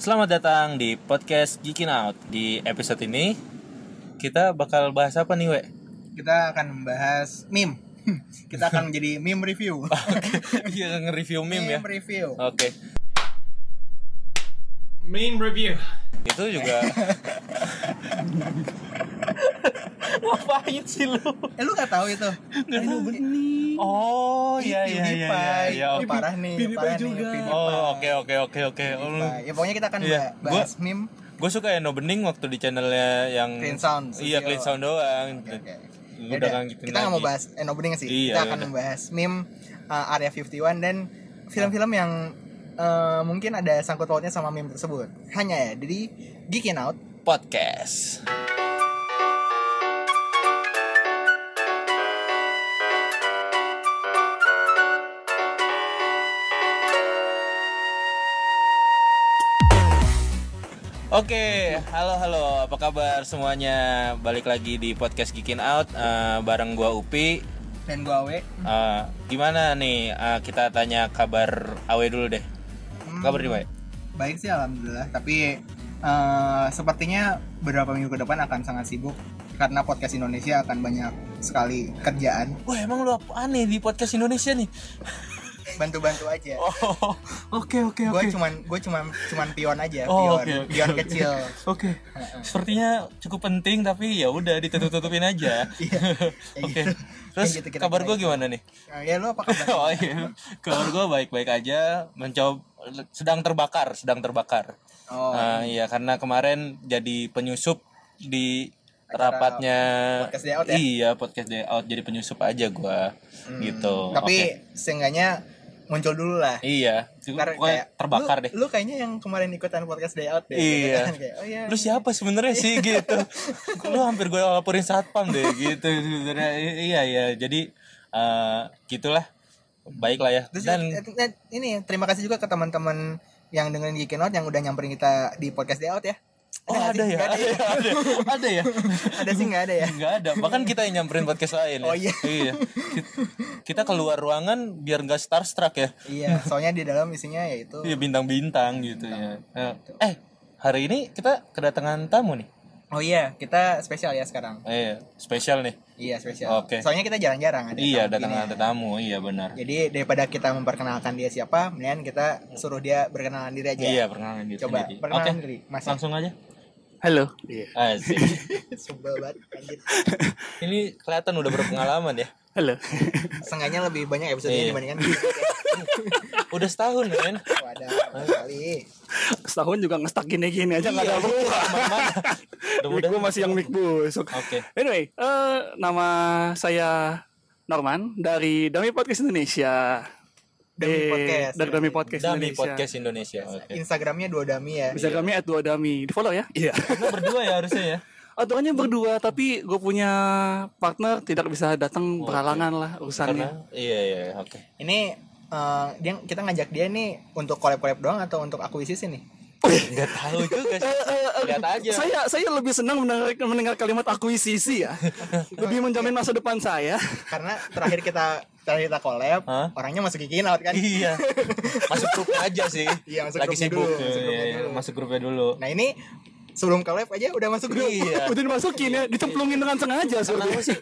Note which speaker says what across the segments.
Speaker 1: Selamat datang di podcast Geekin Out. Di episode ini kita bakal bahas apa nih, We?
Speaker 2: Kita akan membahas meme. Kita akan menjadi meme review.
Speaker 1: Iya, nge-review meme ya.
Speaker 2: review.
Speaker 1: Oke.
Speaker 3: Meme review.
Speaker 1: Itu juga Ngapain sih lu?
Speaker 2: Eh lu gak tahu itu?
Speaker 3: Aduh benih.
Speaker 1: Oh, iya iya iya iya.
Speaker 2: PewDiePie.
Speaker 1: iya,
Speaker 2: Ih,
Speaker 1: oke.
Speaker 2: parah nih,
Speaker 3: PewDiePie
Speaker 2: parah
Speaker 3: juga.
Speaker 2: nih. PewDiePie.
Speaker 1: Oh, oke oke oke oke.
Speaker 2: Nah, ya pokoknya kita akan
Speaker 1: Iya,
Speaker 2: ba- bahas meme
Speaker 1: Gue suka ya No Bening waktu di channelnya yang
Speaker 2: Clean Sound
Speaker 1: Iya,
Speaker 2: Studio.
Speaker 1: Clean Sound doang.
Speaker 2: Oke, oke.
Speaker 1: Lu
Speaker 2: Yaudah,
Speaker 1: jangan gituin
Speaker 2: kita nggak mau
Speaker 1: lagi.
Speaker 2: bahas eh, opening sih.
Speaker 1: Iya,
Speaker 2: kita akan
Speaker 1: yaudah.
Speaker 2: membahas meme uh, Area 51 dan film-film yang uh, mungkin ada sangkut pautnya sama meme tersebut. Hanya ya jadi Geekin Out.
Speaker 1: Podcast. Oke, halo halo, apa kabar semuanya? Balik lagi di podcast Gikin Out eh, bareng gua Upi.
Speaker 2: Dan gua Awe.
Speaker 1: Eh, gimana nih? Eh, kita tanya kabar Awe dulu deh. Kabar di Awe?
Speaker 2: Baik sih alhamdulillah, tapi eh, sepertinya beberapa minggu ke depan akan sangat sibuk karena podcast Indonesia akan banyak sekali kerjaan.
Speaker 1: Wah emang lu apaan nih di podcast Indonesia nih?
Speaker 2: Bantu-bantu aja.
Speaker 1: Oh, oke oke
Speaker 2: Gue
Speaker 1: oke.
Speaker 2: cuman gue cuman cuman pion aja,
Speaker 1: Oh,
Speaker 2: pion,
Speaker 1: oke, oke,
Speaker 2: pion
Speaker 1: oke.
Speaker 2: kecil.
Speaker 1: Oke. Sepertinya cukup penting tapi ya udah ditutup-tutupin aja.
Speaker 2: Iya. kayak
Speaker 1: oke.
Speaker 2: gitu.
Speaker 1: Terus
Speaker 2: Kayak gitu kira-kira
Speaker 1: kabar gue
Speaker 2: itu.
Speaker 1: gimana nih?
Speaker 2: Eh, Ya lu apa kabar?
Speaker 1: Oh iya. Kabar gue baik-baik aja, mencoba sedang terbakar, sedang terbakar.
Speaker 2: Oh,
Speaker 1: Eh, iya karena kemarin jadi penyusup di
Speaker 2: Acara
Speaker 1: rapatnya
Speaker 2: podcast day out ya? Hmm.
Speaker 1: Iya, podcast day out jadi penyusup aja gua gitu.
Speaker 2: Oh, Tapi
Speaker 1: Oke.
Speaker 2: seenggaknya muncul dulu lah.
Speaker 1: iya,
Speaker 2: Ntar
Speaker 1: pokoknya
Speaker 2: kayak,
Speaker 1: terbakar
Speaker 2: lu,
Speaker 1: deh.
Speaker 2: Lu kayaknya yang kemarin ikutan podcast day out deh.
Speaker 1: Iya.
Speaker 2: Gitu kan, kayak, oh iya.
Speaker 1: lu siapa sebenarnya sih gitu lu hampir gue laporin satpam deh gitu sebenarnya I- iya iya jadi eh gitulah baik lah ya
Speaker 2: Terus
Speaker 1: dan
Speaker 2: eh, eh, ini terima kasih juga ke teman-teman yang dengerin di Keynote yang udah nyamperin kita di podcast day out ya.
Speaker 1: oh
Speaker 2: nggak
Speaker 1: ada
Speaker 2: sih?
Speaker 1: ya
Speaker 2: Nggak
Speaker 1: ada ya ada, ada ya
Speaker 2: ada sih nggak ada ya?
Speaker 1: nggak ada bahkan kita yang nyamperin podcast lain ya.
Speaker 2: Oh, iya.
Speaker 1: Ki- kita keluar ruangan biar nggak starstruck ya
Speaker 2: iya, soalnya di dalam isinya yaitu
Speaker 1: iya bintang-bintang gitu ya Eh, eh hari ini kita kedatangan tamu nih
Speaker 2: Oh iya, kita spesial ya sekarang.
Speaker 1: eh spesial nih
Speaker 2: Iya, spesial.
Speaker 1: Oke.
Speaker 2: Soalnya kita jarang-jarang ada.
Speaker 1: iya
Speaker 2: tamu
Speaker 1: datang
Speaker 2: gini
Speaker 1: ada
Speaker 2: ya.
Speaker 1: tamu iya benar
Speaker 2: Jadi daripada kita memperkenalkan dia siapa, mendingan kita suruh dia berkenalan diri aja. ya.
Speaker 1: iya perkenalan diri
Speaker 2: Coba
Speaker 1: sendiri.
Speaker 2: perkenalan
Speaker 1: Oke.
Speaker 2: diri. Mas
Speaker 1: langsung aja
Speaker 3: Halo. Iya.
Speaker 1: Asik.
Speaker 2: sebel banget anjir.
Speaker 1: Ini kelihatan udah berpengalaman ya.
Speaker 3: Halo.
Speaker 2: Seenggaknya lebih banyak episode
Speaker 1: Iya.
Speaker 2: ini dibandingkan
Speaker 1: Udah setahun men.
Speaker 2: Wadah,
Speaker 1: Iya.
Speaker 2: kali.
Speaker 3: Setahun juga ngestak gini-gini aja nggak ada apa-apa. Mic
Speaker 1: Mudah-mudahan.
Speaker 3: gua masih yang mic busuk.
Speaker 1: Oke.
Speaker 3: Anyway, eh, nama saya Norman dari Dami Podcast Indonesia.
Speaker 2: Dami
Speaker 3: Eh,
Speaker 2: Podcast. iya.
Speaker 3: Dari Dami Podcast
Speaker 1: Dami
Speaker 3: Indonesia.
Speaker 1: Podcast Indonesia. Oke.
Speaker 2: Instagramnya dua dami ya.
Speaker 3: Bisa kami at dua Dami. Di follow ya? Iya.
Speaker 1: Lu berdua ya harusnya ya.
Speaker 3: Aturannya berdua, tapi gue punya partner tidak bisa datang berhalangan lah
Speaker 1: Karena
Speaker 3: urusannya.
Speaker 1: iya iya oke.
Speaker 2: Ini eh, dia kita ngajak dia nih untuk collab-collab doang atau untuk akuisisi nih?
Speaker 1: Enggak tahu juga sih. Lihat aja.
Speaker 3: eh, Saya saya lebih senang mendengar, mendengar kalimat akuisisi ya. lebih menjamin masa depan saya.
Speaker 2: Karena terakhir kita terakhir kita collab,
Speaker 1: Hah?
Speaker 2: orangnya masuk kikin out kan.
Speaker 1: Iya. Masuk grupnya aja sih.
Speaker 2: Iya, masuk
Speaker 1: Lagi
Speaker 2: grupnya
Speaker 1: sibuk.
Speaker 2: dulu,
Speaker 1: Iya,
Speaker 2: masuk grupnya
Speaker 1: iya,
Speaker 2: dulu.
Speaker 1: Masuk grupnya dulu.
Speaker 2: Nah, ini sebelum collab aja udah masuk grup.
Speaker 1: Iya.
Speaker 3: Udah dimasukin ya, dicemplungin dengan sengaja
Speaker 1: Kenapa
Speaker 3: suruh.
Speaker 1: sih?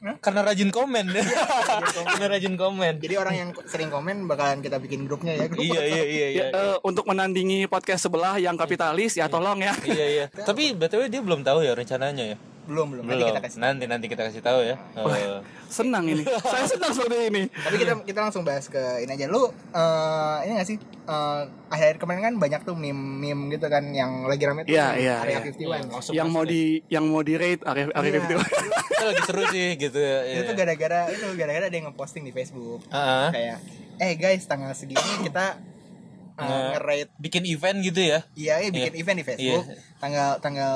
Speaker 1: Karena rajin komen. Karena rajin komen.
Speaker 2: Jadi orang yang sering komen bakalan kita bikin grupnya ya. Grup
Speaker 1: Iya iya iya iya.
Speaker 3: Ya, eh, untuk menandingi podcast sebelah yang kapitalis ya tolong ya.
Speaker 1: Iya iya. Tapi btw dia belum tahu ya rencananya ya.
Speaker 2: Belum, belum. Nanti
Speaker 1: Belum.
Speaker 2: kita kasih. Oh, iya.
Speaker 1: Nanti nanti kita kasih tahu ya. Eh,
Speaker 3: Senang ini. Saya senang seperti ini.
Speaker 2: Tapi kita kita langsung bahas ke ini aja. Lu eh, ini gak sih eh, akhir-akhir kemarin kan banyak tuh meme-meme gitu kan yang lagi rame tuh.
Speaker 3: Iya,
Speaker 2: yang
Speaker 3: iya,
Speaker 2: Area
Speaker 3: iya.
Speaker 2: 51.
Speaker 1: langsung
Speaker 3: Yang mau di yang mau di rate Arif Arif
Speaker 2: Iya.
Speaker 3: itu.
Speaker 1: Itu lagi seru sih gitu ya.
Speaker 2: Itu tuh gara-gara itu gara-gara ada yang ngeposting di Facebook.
Speaker 1: Heeh.
Speaker 2: Kayak eh guys tanggal segini kita eh,
Speaker 1: Nge-
Speaker 2: nge-rate
Speaker 1: Bikin event gitu ya.
Speaker 2: Iya, iya, bikin event di Facebook. Tanggal tanggal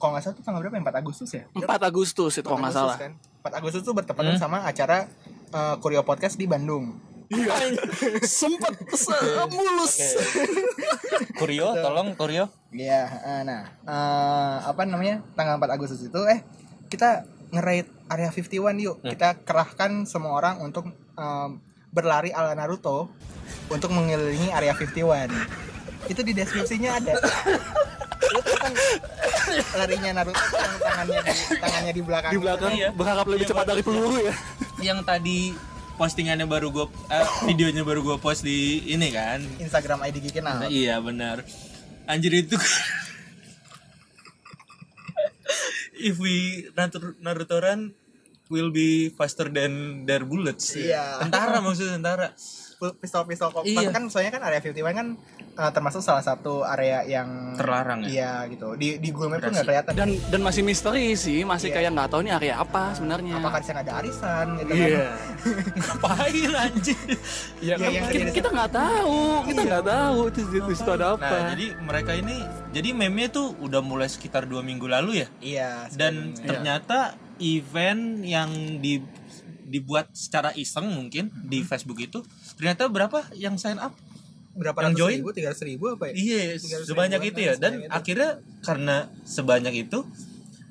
Speaker 2: kalau nggak salah tuh tanggal berapa? ya? 4 Agustus ya?
Speaker 3: 4 Agustus itu kalau nggak
Speaker 2: Agustus
Speaker 3: salah.
Speaker 2: kan? 4 Agustus tuh bertepatan
Speaker 3: Hmm?
Speaker 2: sama acara eh, Kurio Podcast di Bandung.
Speaker 3: Iya.
Speaker 1: kan?
Speaker 3: Sempet se- mulus.
Speaker 1: Kurio, tolong Kurio.
Speaker 2: Iya, eh, nah, eh, apa namanya? Tanggal 4 Agustus itu eh kita nge-rate Area 51 yuk.
Speaker 3: Hmm.
Speaker 2: Kita kerahkan semua orang eh, untuk em, berlari ala Naruto untuk mengelilingi Area 51. itu di deskripsinya ada lu tuh kan larinya Naruto yang tangannya di tangannya di belakang
Speaker 3: Di belakang
Speaker 1: Iya.
Speaker 3: berharap lebih
Speaker 1: Iya,
Speaker 3: cepat
Speaker 1: Pak.
Speaker 3: dari peluru ya.
Speaker 1: yang tadi postingannya baru gue videonya baru gue post di ini kan
Speaker 2: Instagram ID Gigi Kenal
Speaker 1: Nah, iya benar anjir itu if we Naruto Narutoran will be faster than their bullets
Speaker 2: Iya.
Speaker 1: tentara maksudnya tentara
Speaker 2: pistol-pistol kompak
Speaker 1: Iya.
Speaker 2: kan soalnya kan area 51 kan eh, termasuk salah satu area yang
Speaker 1: Terlarang ya?
Speaker 2: iya gitu di di Google Maps tuh nggak
Speaker 1: Operasi.
Speaker 2: kelihatan
Speaker 3: Dan dan masih misteri sih,
Speaker 2: Iya.
Speaker 3: masih kayak nggak tahu nih area apa sebenarnya.
Speaker 1: iya,
Speaker 2: apakah di sana ada arisan gitu kan
Speaker 3: Iya.
Speaker 1: ngapain anjir
Speaker 2: Iya,
Speaker 3: Iya,
Speaker 2: yang
Speaker 3: kita
Speaker 2: terjadi-
Speaker 3: kita nggak tahu, kita nggak tahu itu di di situ ada apa.
Speaker 1: Iya. nah jadi mereka ini jadi meme-nya tuh udah mulai sekitar dua minggu lalu ya
Speaker 2: iya
Speaker 1: dan
Speaker 2: sebenarnya.
Speaker 1: ternyata event yang di dibuat secara iseng mungkin di
Speaker 2: Mm-hmm.
Speaker 1: Facebook itu ternyata berapa yang sign up
Speaker 2: berapa
Speaker 1: yang
Speaker 2: ratus
Speaker 1: join?
Speaker 2: ribu tiga ribu apa ya
Speaker 1: Iya,
Speaker 2: 300
Speaker 1: sebanyak
Speaker 2: ribuan
Speaker 1: itu
Speaker 2: lah,
Speaker 1: ya. Dan
Speaker 2: sebanyak itu.
Speaker 1: akhirnya karena sebanyak itu,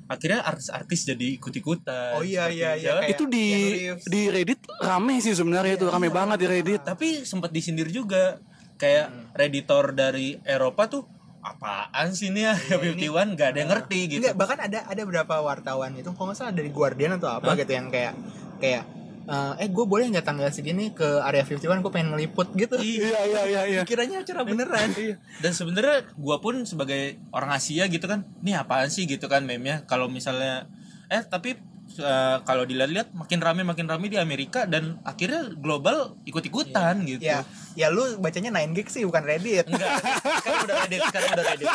Speaker 1: akhirnya artis-artis jadi ikut-ikutan.
Speaker 2: Oh iya,
Speaker 1: Seperti
Speaker 2: iya,
Speaker 1: itu.
Speaker 2: iya, kayak-
Speaker 3: itu di
Speaker 2: Keanu Reeves.
Speaker 3: di Reddit rame sih sebenarnya itu rame banget di Reddit.
Speaker 1: Tapi sempat disindir juga. Kayak
Speaker 2: Hmm.
Speaker 1: redditor dari Eropa tuh apaan sih nih ya
Speaker 2: Iya,
Speaker 1: 51 gak
Speaker 2: Ah.
Speaker 1: ada yang ngerti gitu.
Speaker 2: Enggak, bahkan ada ada beberapa wartawan itu kalau nggak salah dari Guardian atau apa gitu yang kayak kayak eh, eh gue boleh nggak tanggal segini ke area 51 gue pengen ngeliput gitu
Speaker 3: Iya iya iya iya.
Speaker 2: kiranya acara beneran
Speaker 1: Dan sebenarnya gua pun sebagai orang Asia gitu kan, nih apaan sih gitu kan meme-nya. Kalau misalnya eh tapi eh, kalau dilihat-lihat makin rame makin rame di Amerika dan akhirnya global ikut-ikutan
Speaker 3: Iya.
Speaker 1: gitu.
Speaker 2: ya ya lu bacanya 9 gig sih bukan Reddit
Speaker 1: Enggak, sekarang udah edit, sekarang udah edit.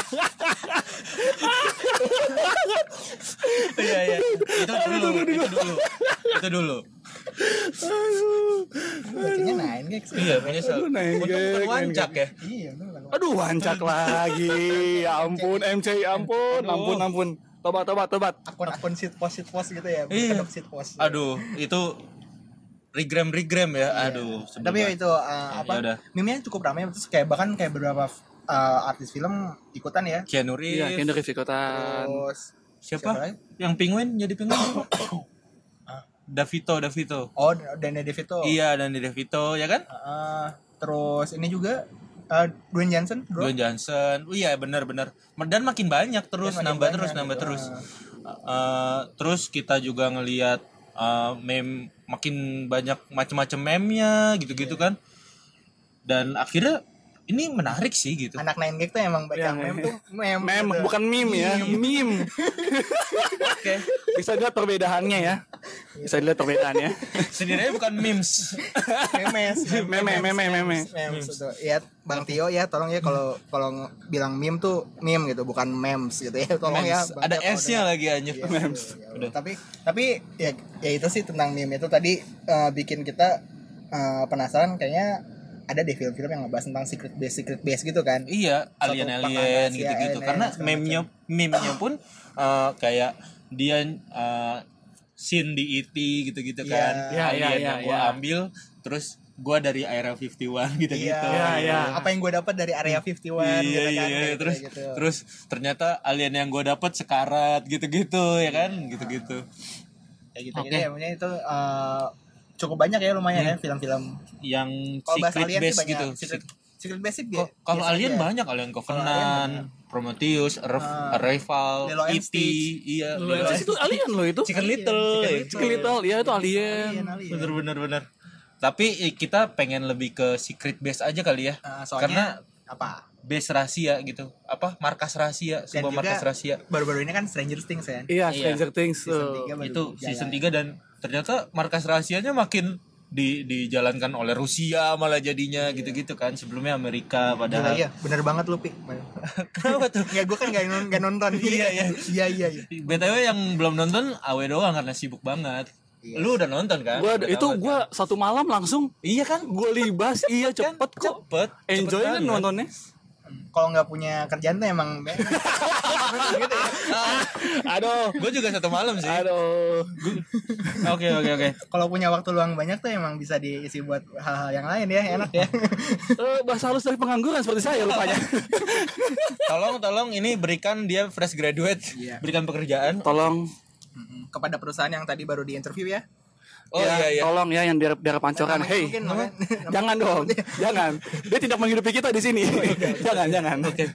Speaker 1: Iya, iya. Itu dulu, itu dulu. Itu dulu.
Speaker 2: bacanya 9 gig sih
Speaker 1: Iya, menyesal.
Speaker 3: Aduh, naik,
Speaker 1: Untung bukan
Speaker 3: naik,
Speaker 1: wancak ya.
Speaker 2: iya lu kan
Speaker 3: Aduh, wancak lagi. Ya ampun, MC, ya ampun, ampun, ampun. Tobat, tobat, tobat.
Speaker 2: akun-akun sit post sit post gitu ya
Speaker 1: Iya.
Speaker 2: bukan sit post
Speaker 1: Aduh, itu regram regram ya.
Speaker 3: Iya.
Speaker 1: Aduh, sebel
Speaker 2: tapi ya
Speaker 1: banget.
Speaker 2: itu eh,
Speaker 1: Ya,
Speaker 2: apa
Speaker 1: yaudah.
Speaker 2: meme-nya cukup ramai terus kayak bahkan kayak beberapa eh, artis film ikutan ya
Speaker 1: Keanu Reeves.
Speaker 3: Iya, Kendrick Fikotan.
Speaker 2: terus
Speaker 1: siapa?
Speaker 2: siapa lagi?
Speaker 1: Yang penguin jadi penguin. siapa? Ah, Davito, Davito.
Speaker 2: oh Danny DeVito
Speaker 1: Iya, dan di Davito ya kan?
Speaker 2: Heeh. terus ini juga eh, Dwayne Johnson, bro.
Speaker 1: Dwayne Johnson. Oh iya, benar-benar. Dan makin banyak terus
Speaker 2: Dan makin
Speaker 1: nambah
Speaker 2: banyak,
Speaker 1: terus nambah
Speaker 2: gitu.
Speaker 1: terus. Uh, terus kita juga ngelihat uh, meme makin banyak macam-macam meme-nya gitu-gitu kan. Dan akhirnya ini menarik sih gitu.
Speaker 2: Anak 9 gig tuh emang baca
Speaker 3: Iya,
Speaker 2: meme
Speaker 3: iya.
Speaker 2: tuh meme.
Speaker 3: Mem,
Speaker 2: gitu.
Speaker 3: bukan meme ya, meme.
Speaker 1: Oke.
Speaker 3: Bisa dilihat perbedaannya ya. Bisa dilihat perbedaannya.
Speaker 1: Sendirinya bukan memes.
Speaker 2: memes.
Speaker 3: Meme, meme, meme.
Speaker 2: Memes itu. Ya, Bang Tio ya tolong ya kalau kalau ng- bilang meme tuh meme gitu, bukan memes gitu ya. Tolong ya.
Speaker 1: Memes.
Speaker 2: Bang
Speaker 1: Ada
Speaker 2: Tio kalau
Speaker 1: S-nya lagi anjir.
Speaker 2: Iya, iya, iya. Tapi tapi ya, ya itu sih tentang meme itu tadi eh, bikin kita eh, penasaran kayaknya ada deh film-film yang ngebahas tentang secret base secret base gitu kan.
Speaker 1: Iya,
Speaker 2: Satu
Speaker 1: alien
Speaker 2: pakanan,
Speaker 1: alien
Speaker 2: si
Speaker 1: gitu-gitu.
Speaker 2: alien,
Speaker 1: Karena
Speaker 2: segala
Speaker 1: meme-nya meme-nya pun eh, kayak dia eh, scene di E.T. gitu-gitu kan.
Speaker 3: Iya. Iya, iya,
Speaker 1: alien
Speaker 3: iya,
Speaker 1: yang gua
Speaker 3: iya.
Speaker 1: ambil terus gua dari Area 51 gitu-gitu.
Speaker 3: Iya, iya.
Speaker 2: Apa yang gue dapat dari area 51 gitu
Speaker 1: gitu. Iya,
Speaker 2: kan.
Speaker 1: iya,
Speaker 2: kayak
Speaker 1: terus
Speaker 2: gitu.
Speaker 1: terus ternyata alien yang gue dapat sekarat gitu-gitu ya
Speaker 2: Iya.
Speaker 1: kan gitu-gitu
Speaker 2: kayak gitu gitu
Speaker 1: Oke.
Speaker 2: ya maksudnya itu eh, cukup banyak ya lumayan
Speaker 1: Hmm.
Speaker 2: ya film-film
Speaker 1: yang
Speaker 2: kalau bahas
Speaker 1: secret
Speaker 2: alien
Speaker 1: base
Speaker 2: sih banyak
Speaker 1: gitu
Speaker 2: secret, secret base sih
Speaker 1: Kok-
Speaker 2: bi-
Speaker 1: kalau
Speaker 2: biasa
Speaker 1: alien
Speaker 2: aja.
Speaker 1: banyak alien covenant prometheus Arriv-
Speaker 2: Ah.
Speaker 1: arrival
Speaker 2: Lilo and
Speaker 1: et
Speaker 2: Stitch.
Speaker 1: iya Lilo and
Speaker 3: Itu alien loh itu. iya,
Speaker 1: Chicken
Speaker 2: Alien,
Speaker 1: Little, ya.
Speaker 2: Chicken Little. iya.
Speaker 3: Chicken Little, iya. ya itu
Speaker 2: Alien,
Speaker 3: alien.
Speaker 2: alien.
Speaker 1: bener bener bener tapi eh, kita pengen lebih ke secret base aja kali ya
Speaker 2: Eh, soalnya
Speaker 1: karena
Speaker 2: apa
Speaker 1: base rahasia gitu apa markas rahasia sebuah
Speaker 2: juga-
Speaker 1: markas rahasia
Speaker 2: baru-baru ini kan Stranger Things ya
Speaker 3: Iya, Stranger Things.
Speaker 2: Season
Speaker 3: tuh.
Speaker 2: tiga baru
Speaker 1: itu
Speaker 2: jalan.
Speaker 1: season 3 dan ternyata markas rahasianya makin di dijalankan oleh Rusia malah jadinya gitu-gitu kan sebelumnya Amerika
Speaker 2: Gila,
Speaker 1: padahal
Speaker 2: iya bener banget lu Pi
Speaker 1: kenapa tuh
Speaker 2: Nggak, gue kan gak, non- nggak nonton
Speaker 1: Iya, iya.
Speaker 2: iya iya iya
Speaker 1: BTW yang belum nonton awe doang karena sibuk banget
Speaker 2: Iya.
Speaker 1: lu udah nonton kan
Speaker 3: Gua
Speaker 1: Udah
Speaker 3: itu
Speaker 1: tamat kan?
Speaker 3: gua satu malam langsung
Speaker 1: iya kan
Speaker 3: gue libas, iya
Speaker 1: Kan,
Speaker 3: cepet kok.
Speaker 1: cepet cepet
Speaker 3: Enjoy kan
Speaker 1: banget.
Speaker 3: nontonnya.
Speaker 2: kalau nggak punya kerjaan tuh emang gitu ya.
Speaker 3: Aduh,
Speaker 1: gue juga satu malam sih
Speaker 3: aduh.
Speaker 1: oke oke oke
Speaker 2: kalau punya waktu luang banyak tuh emang bisa diisi buat hal-hal yang lain ya enak ya
Speaker 3: Eh, bahasa halus dari pengangguran seperti saya rupanya.
Speaker 1: tolong tolong ini berikan dia fresh graduate
Speaker 2: Iya.
Speaker 1: berikan pekerjaan
Speaker 3: Tolong
Speaker 2: Mm-mm. kepada perusahaan yang tadi baru di interview ya
Speaker 1: Oh,
Speaker 3: ya,
Speaker 1: iya, iya.
Speaker 3: Tolong ya yang daerah daerah pancoran.
Speaker 2: Namanya
Speaker 3: Hey,
Speaker 2: mungkin, namanya-
Speaker 3: jangan dong, jangan. Dia tidak menghidupi kita di sini.
Speaker 2: Oh, iya,
Speaker 3: jangan, jangan.
Speaker 1: Oke.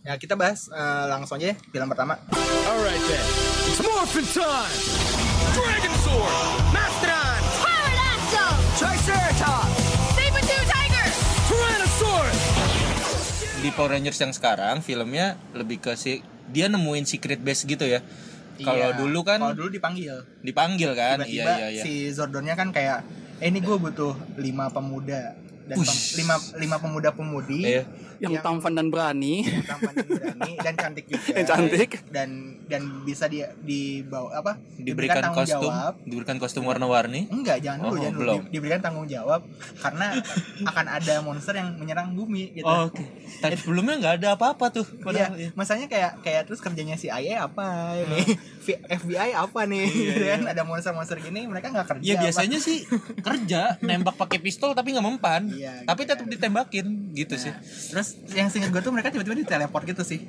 Speaker 2: Ya kita bahas eh, langsung aja ya, film pertama.
Speaker 4: Alright then, it's morphin' time! Dragon Sword! Mastodon!
Speaker 5: Pterodactyl! Triceratops! Saber-tooth tiger!
Speaker 4: Tyrannosaurus!
Speaker 1: Di Power Rangers yang sekarang filmnya lebih ke si dia nemuin secret base gitu ya. Kalau
Speaker 2: Iya.
Speaker 1: dulu kan
Speaker 2: kalau dulu dipanggil.
Speaker 1: dipanggil kan.
Speaker 2: Tiba-tiba
Speaker 1: iya iya iya.
Speaker 2: si Zordonnya kan kayak eh ini gue butuh lima pemuda dan pem-
Speaker 1: Ush.
Speaker 2: lima lima pemuda pemudi
Speaker 1: Iya.
Speaker 3: Yang tampan dan berani.
Speaker 2: yang tampan dan berani dan cantik juga.
Speaker 3: Yang cantik.
Speaker 2: dan dan bisa di dibawa apa?
Speaker 1: Diberikan
Speaker 2: tanggung
Speaker 1: kostum,
Speaker 2: jawab.
Speaker 1: diberikan kostum warna-warni.
Speaker 2: Enggak, jangan dulu,
Speaker 1: Oh,
Speaker 2: jangan dulu.
Speaker 1: belum.
Speaker 2: Di- Diberikan tanggung jawab karena akan ada monster yang menyerang bumi gitu.
Speaker 1: Oh, Oke. Tapi sebelumnya nggak ada apa-apa tuh.
Speaker 2: Iya,
Speaker 1: Padahal, iya.
Speaker 2: masanya kayak kayak terus kerjanya si IA apa nih, V- FBI apa nih, gitu kan? Ada monster-monster gini mereka nggak kerja.
Speaker 1: Ya
Speaker 2: Iya,
Speaker 1: Iya,
Speaker 2: apa.
Speaker 1: biasanya sih kerja nembak pakai pistol tapi nggak mempan.
Speaker 2: Iya,
Speaker 1: tapi
Speaker 2: gitu Nah.
Speaker 1: tetap ditembakin gitu sih.
Speaker 2: Terus yang singkat gue tuh mereka tiba-tiba diteleport gitu sih.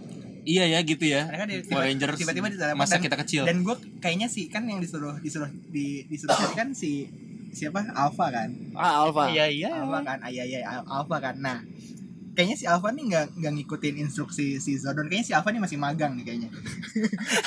Speaker 1: Iya ya gitu ya.
Speaker 2: Mereka di-
Speaker 1: Power Rangers
Speaker 2: tiba-tiba diteleport.
Speaker 1: masa
Speaker 2: dan-
Speaker 1: kita kecil.
Speaker 2: Dan gue kayaknya sih kan yang disuruh disuruh di, disuruh cari kan si siapa Alpha kan.
Speaker 3: Ah, Alfa.
Speaker 1: Iya iya.
Speaker 2: Alpha kan, ayah ayah Alpha kan. Nah, kayaknya si Alpha nih nggak nggak ngikutin instruksi si Zordon. Kayaknya si Alpha nih masih magang nih kayaknya.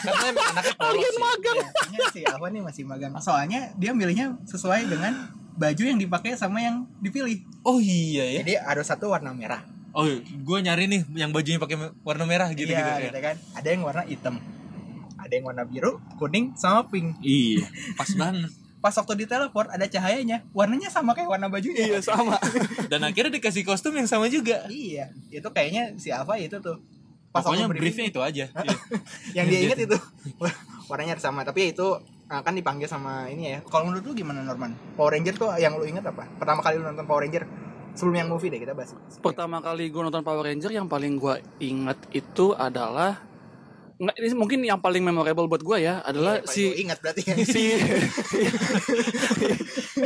Speaker 1: Karena emang anaknya polos
Speaker 3: Alien
Speaker 1: sih.
Speaker 3: magang.
Speaker 2: Ya, kayaknya si Alpha nih masih magang. Soalnya dia milihnya sesuai dengan baju yang dipakai sama yang dipilih.
Speaker 1: Oh iya ya.
Speaker 2: Jadi ada satu warna merah.
Speaker 1: Oh, gue nyari nih yang bajunya pakai warna merah gitu
Speaker 2: Iya,
Speaker 1: gitu.
Speaker 2: gitu kan. Ada yang warna hitam. Ada yang warna biru, kuning, sama pink.
Speaker 1: Iya, pas banget.
Speaker 2: Pas waktu di teleport ada cahayanya, warnanya sama kayak warna bajunya.
Speaker 3: Iya, sama.
Speaker 1: Dan akhirnya dikasih kostum yang sama juga.
Speaker 2: Iya, itu kayaknya si Alpha itu tuh.
Speaker 1: Pokoknya
Speaker 2: waktu briefing,
Speaker 1: briefnya itu aja. Iya.
Speaker 2: yang dia ingat itu warnanya sama tapi itu uh, kan dipanggil sama ini ya kalau menurut lu gimana Norman Power Ranger tuh yang lu ingat apa pertama kali lu nonton Power Ranger sebelum yang movie deh kita bahas
Speaker 3: Pertama kali gue nonton Power Ranger yang paling gue inget itu adalah nggak ini mungkin yang paling memorable buat gue ya adalah
Speaker 2: Iya, Paling lu
Speaker 3: si
Speaker 2: ingat berarti ya
Speaker 3: si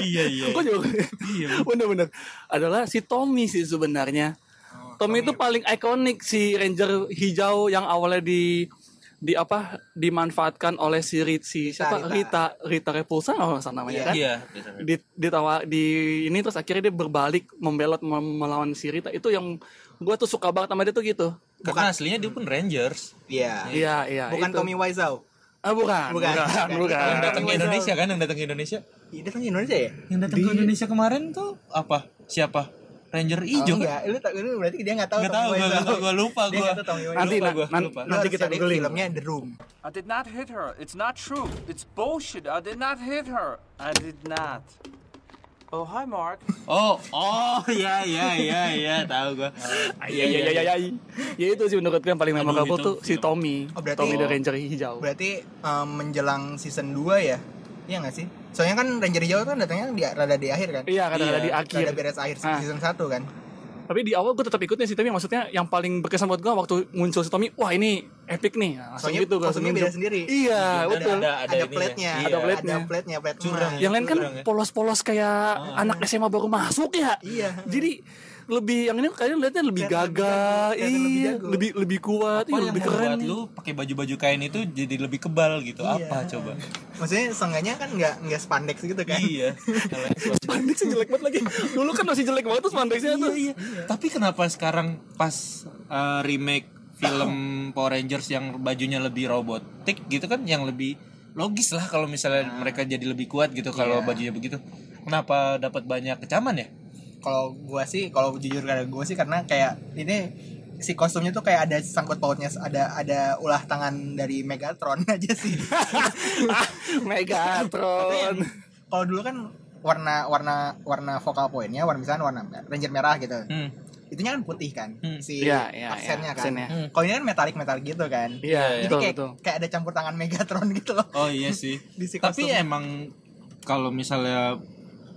Speaker 1: iya, iya.
Speaker 3: gue juga gitu.
Speaker 1: Iya.
Speaker 3: bener-bener adalah si Tommy sih sebenarnya Tommy itu paling ikonik si Ranger hijau yang awalnya di di apa dimanfaatkan oleh si Rit, si
Speaker 2: Rita,
Speaker 3: siapa
Speaker 2: Rita.
Speaker 3: Rita Rita Repulsa kalau nggak salah namanya kan
Speaker 1: Iya.
Speaker 3: di ditawar di ini terus akhirnya dia berbalik membelot mem- melawan si Rita itu yang gue tuh suka banget sama dia tuh gitu
Speaker 1: Karena aslinya dia pun Rangers.
Speaker 2: iya
Speaker 3: iya iya
Speaker 2: bukan
Speaker 3: itu.
Speaker 2: Tommy Wiseau
Speaker 3: ah, bukan
Speaker 2: Bukan,
Speaker 3: bukan bukan,
Speaker 2: bukan.
Speaker 1: Yang datang
Speaker 2: Ah,
Speaker 1: ke
Speaker 2: Tommy Wiseau.
Speaker 1: Indonesia kan, yang datang ke Indonesia.
Speaker 2: Iya, datang ke Indonesia ya
Speaker 1: Yang datang ke Indonesia kemarin tuh apa? Siapa? Ranger hijau kan?
Speaker 2: enggak Iya, lu, tak- lu berarti dia nggak tahu
Speaker 1: Gak tau, gue lupa
Speaker 2: dia
Speaker 1: gue.
Speaker 2: nggak tahu Tommy Wiseau
Speaker 3: nanti
Speaker 1: iya, Lupa
Speaker 3: na-
Speaker 1: gua,
Speaker 3: nan-
Speaker 1: lupa.
Speaker 2: Lu
Speaker 3: nanti
Speaker 2: harus
Speaker 3: kita
Speaker 2: cari
Speaker 3: googling
Speaker 2: filmnya The Room
Speaker 6: I did not hit her. It's not true. It's bullshit. I did not hit her. I did not. Oh, hi, Mark.
Speaker 1: Oh, oh, ya, ya, ya, ya, tahu gue.
Speaker 3: iya iya iya iya ya itu sih menurut gue yang paling
Speaker 1: Aduh,
Speaker 3: memorable
Speaker 1: itu
Speaker 3: tuh si
Speaker 1: film.
Speaker 3: Tommy
Speaker 2: Oh, berarti-
Speaker 3: Tommy the
Speaker 2: Oh.
Speaker 3: Ranger hijau
Speaker 2: berarti um, menjelang season 2 ya iya nggak sih soalnya kan Ranger Hijau kan datangnya di, rada di akhir kan
Speaker 3: iya
Speaker 1: Iya,
Speaker 3: kata-kata di akhir
Speaker 2: rada beres akhir
Speaker 3: Ah.
Speaker 2: season 1 kan
Speaker 3: tapi di awal gue tetap ikutnya sih tapi maksudnya yang paling berkesan buat gue waktu muncul si Tommy wah ini epic nih Nah, langsung
Speaker 2: Soalnya
Speaker 3: gitu gue
Speaker 2: kostumnya beda sendiri.
Speaker 3: iya
Speaker 1: Dan
Speaker 3: betul
Speaker 1: ada-
Speaker 2: ada
Speaker 1: ininya.
Speaker 2: plate-nya,
Speaker 1: Iya.
Speaker 2: ada plate-nya,
Speaker 3: plate-nya.
Speaker 2: ada plate-nya, plate
Speaker 1: Curang.
Speaker 3: yang lain kan
Speaker 1: Bener ya?
Speaker 3: polos-polos kayak anak SMA baru masuk ya
Speaker 2: Iya.
Speaker 3: jadi lebih yang ini kalian lihatnya lebih
Speaker 2: Kelihatan lebih
Speaker 3: gagah
Speaker 2: jago, kelihatan lebih
Speaker 3: iya
Speaker 2: jago.
Speaker 3: lebih lebih kuat
Speaker 1: Apa
Speaker 3: iya,
Speaker 1: yang
Speaker 3: lebih keren
Speaker 1: membuat lu pakai baju-baju kain itu jadi lebih kebal gitu?
Speaker 2: Iya.
Speaker 1: Apa coba?
Speaker 2: Maksudnya seenggaknya kan nggak nggak spandex gitu kan?
Speaker 1: Iya. Kalau-
Speaker 3: spandex jelek banget lagi dulu kan masih jelek banget tuh spandexnya tuh
Speaker 1: Iya, iya. Tapi kenapa sekarang pas uh, remake film Power Rangers yang bajunya lebih robotik gitu kan yang lebih logis lah kalau misalnya mereka jadi lebih kuat gitu kalau bajunya begitu. Kenapa dapat banyak kecaman ya?
Speaker 2: Kalau gua sih, kalau jujur kata gua sih karena kayak ini si kostumnya tuh kayak ada sangkut pautnya ada ada ulah tangan dari Megatron aja sih.
Speaker 3: Oh Megatron
Speaker 2: kalau dulu kan warna warna warna vokal poinnya warna misalnya warna mer- ranger merah gitu.
Speaker 1: Hmm.
Speaker 2: Itunya kan putih kan
Speaker 1: Hmm.
Speaker 2: si
Speaker 3: Iya, iya,
Speaker 2: aksennya
Speaker 3: iya,
Speaker 2: kan.
Speaker 3: aksennya.
Speaker 2: Hmm. Kalau ini kan metalik metalik gitu kan.
Speaker 3: iya
Speaker 1: Iya,
Speaker 3: betul
Speaker 2: kayak,
Speaker 3: betul
Speaker 2: kayak ada campur tangan Megatron gitu loh.
Speaker 1: Oh iya sih.
Speaker 2: Di si
Speaker 1: Tapi
Speaker 2: kostum.
Speaker 1: emang kalau misalnya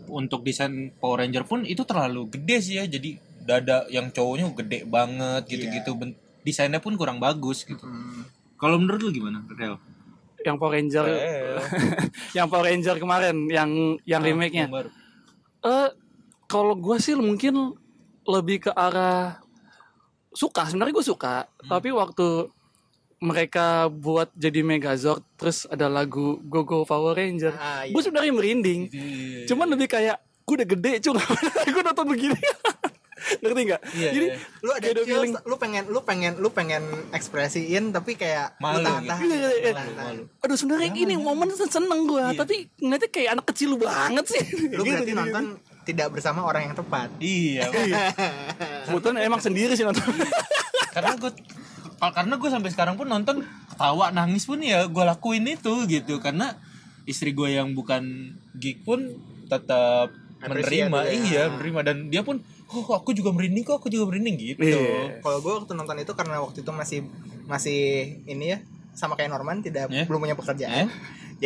Speaker 1: untuk desain Power Ranger pun itu terlalu gede sih ya. Jadi dada yang cowoknya gede banget gitu-gitu. Ben- Desainnya pun kurang bagus gitu.
Speaker 2: Hmm.
Speaker 1: Kalau menurut lu gimana, Rel?
Speaker 3: yang Power Ranger yang Power Ranger kemarin yang yang remake-nya
Speaker 1: Yang baru.
Speaker 3: Eh, kalau gue sih mungkin
Speaker 2: Hmm.
Speaker 3: lebih ke arah suka. Sebenarnya gue suka, tapi waktu mereka buat jadi Megazord terus ada lagu Go Go Power Ranger
Speaker 2: Ah, iya.
Speaker 3: gue sebenarnya merinding
Speaker 1: Iya,
Speaker 3: cuman lebih kayak gue udah gede cuy gue nonton begini ngerti nggak
Speaker 1: Iya,
Speaker 3: jadi
Speaker 1: iya.
Speaker 2: lu ada
Speaker 3: kayak ada
Speaker 2: chills, lu pengen lu pengen lu pengen ekspresiin tapi kayak
Speaker 1: Malu
Speaker 2: lu tahan-tahan,
Speaker 3: gitu. Iya, iya, iya.
Speaker 2: tahan-tahan.
Speaker 3: aduh sebenarnya
Speaker 2: Iya,
Speaker 3: ini momen seneng gue tapi ngeliatnya kayak anak kecil banget sih Gitu.
Speaker 2: lu berarti nonton tidak bersama orang yang tepat
Speaker 1: iya
Speaker 3: kebetulan emang sendiri sih nonton
Speaker 2: Iya.
Speaker 1: karena gue karena gue sampai sekarang pun nonton ketawa nangis pun ya gue lakuin itu gitu karena istri gue yang bukan geek pun tetap
Speaker 2: Appreciate
Speaker 1: menerima
Speaker 2: ya.
Speaker 1: iya menerima dan dia pun oh aku juga merinding kok aku juga merinding gitu
Speaker 3: Iya.
Speaker 2: kalau gue waktu nonton itu karena waktu itu masih masih ini ya sama kayak Norman tidak
Speaker 1: Yeah.
Speaker 2: belum punya pekerjaan
Speaker 1: Yeah.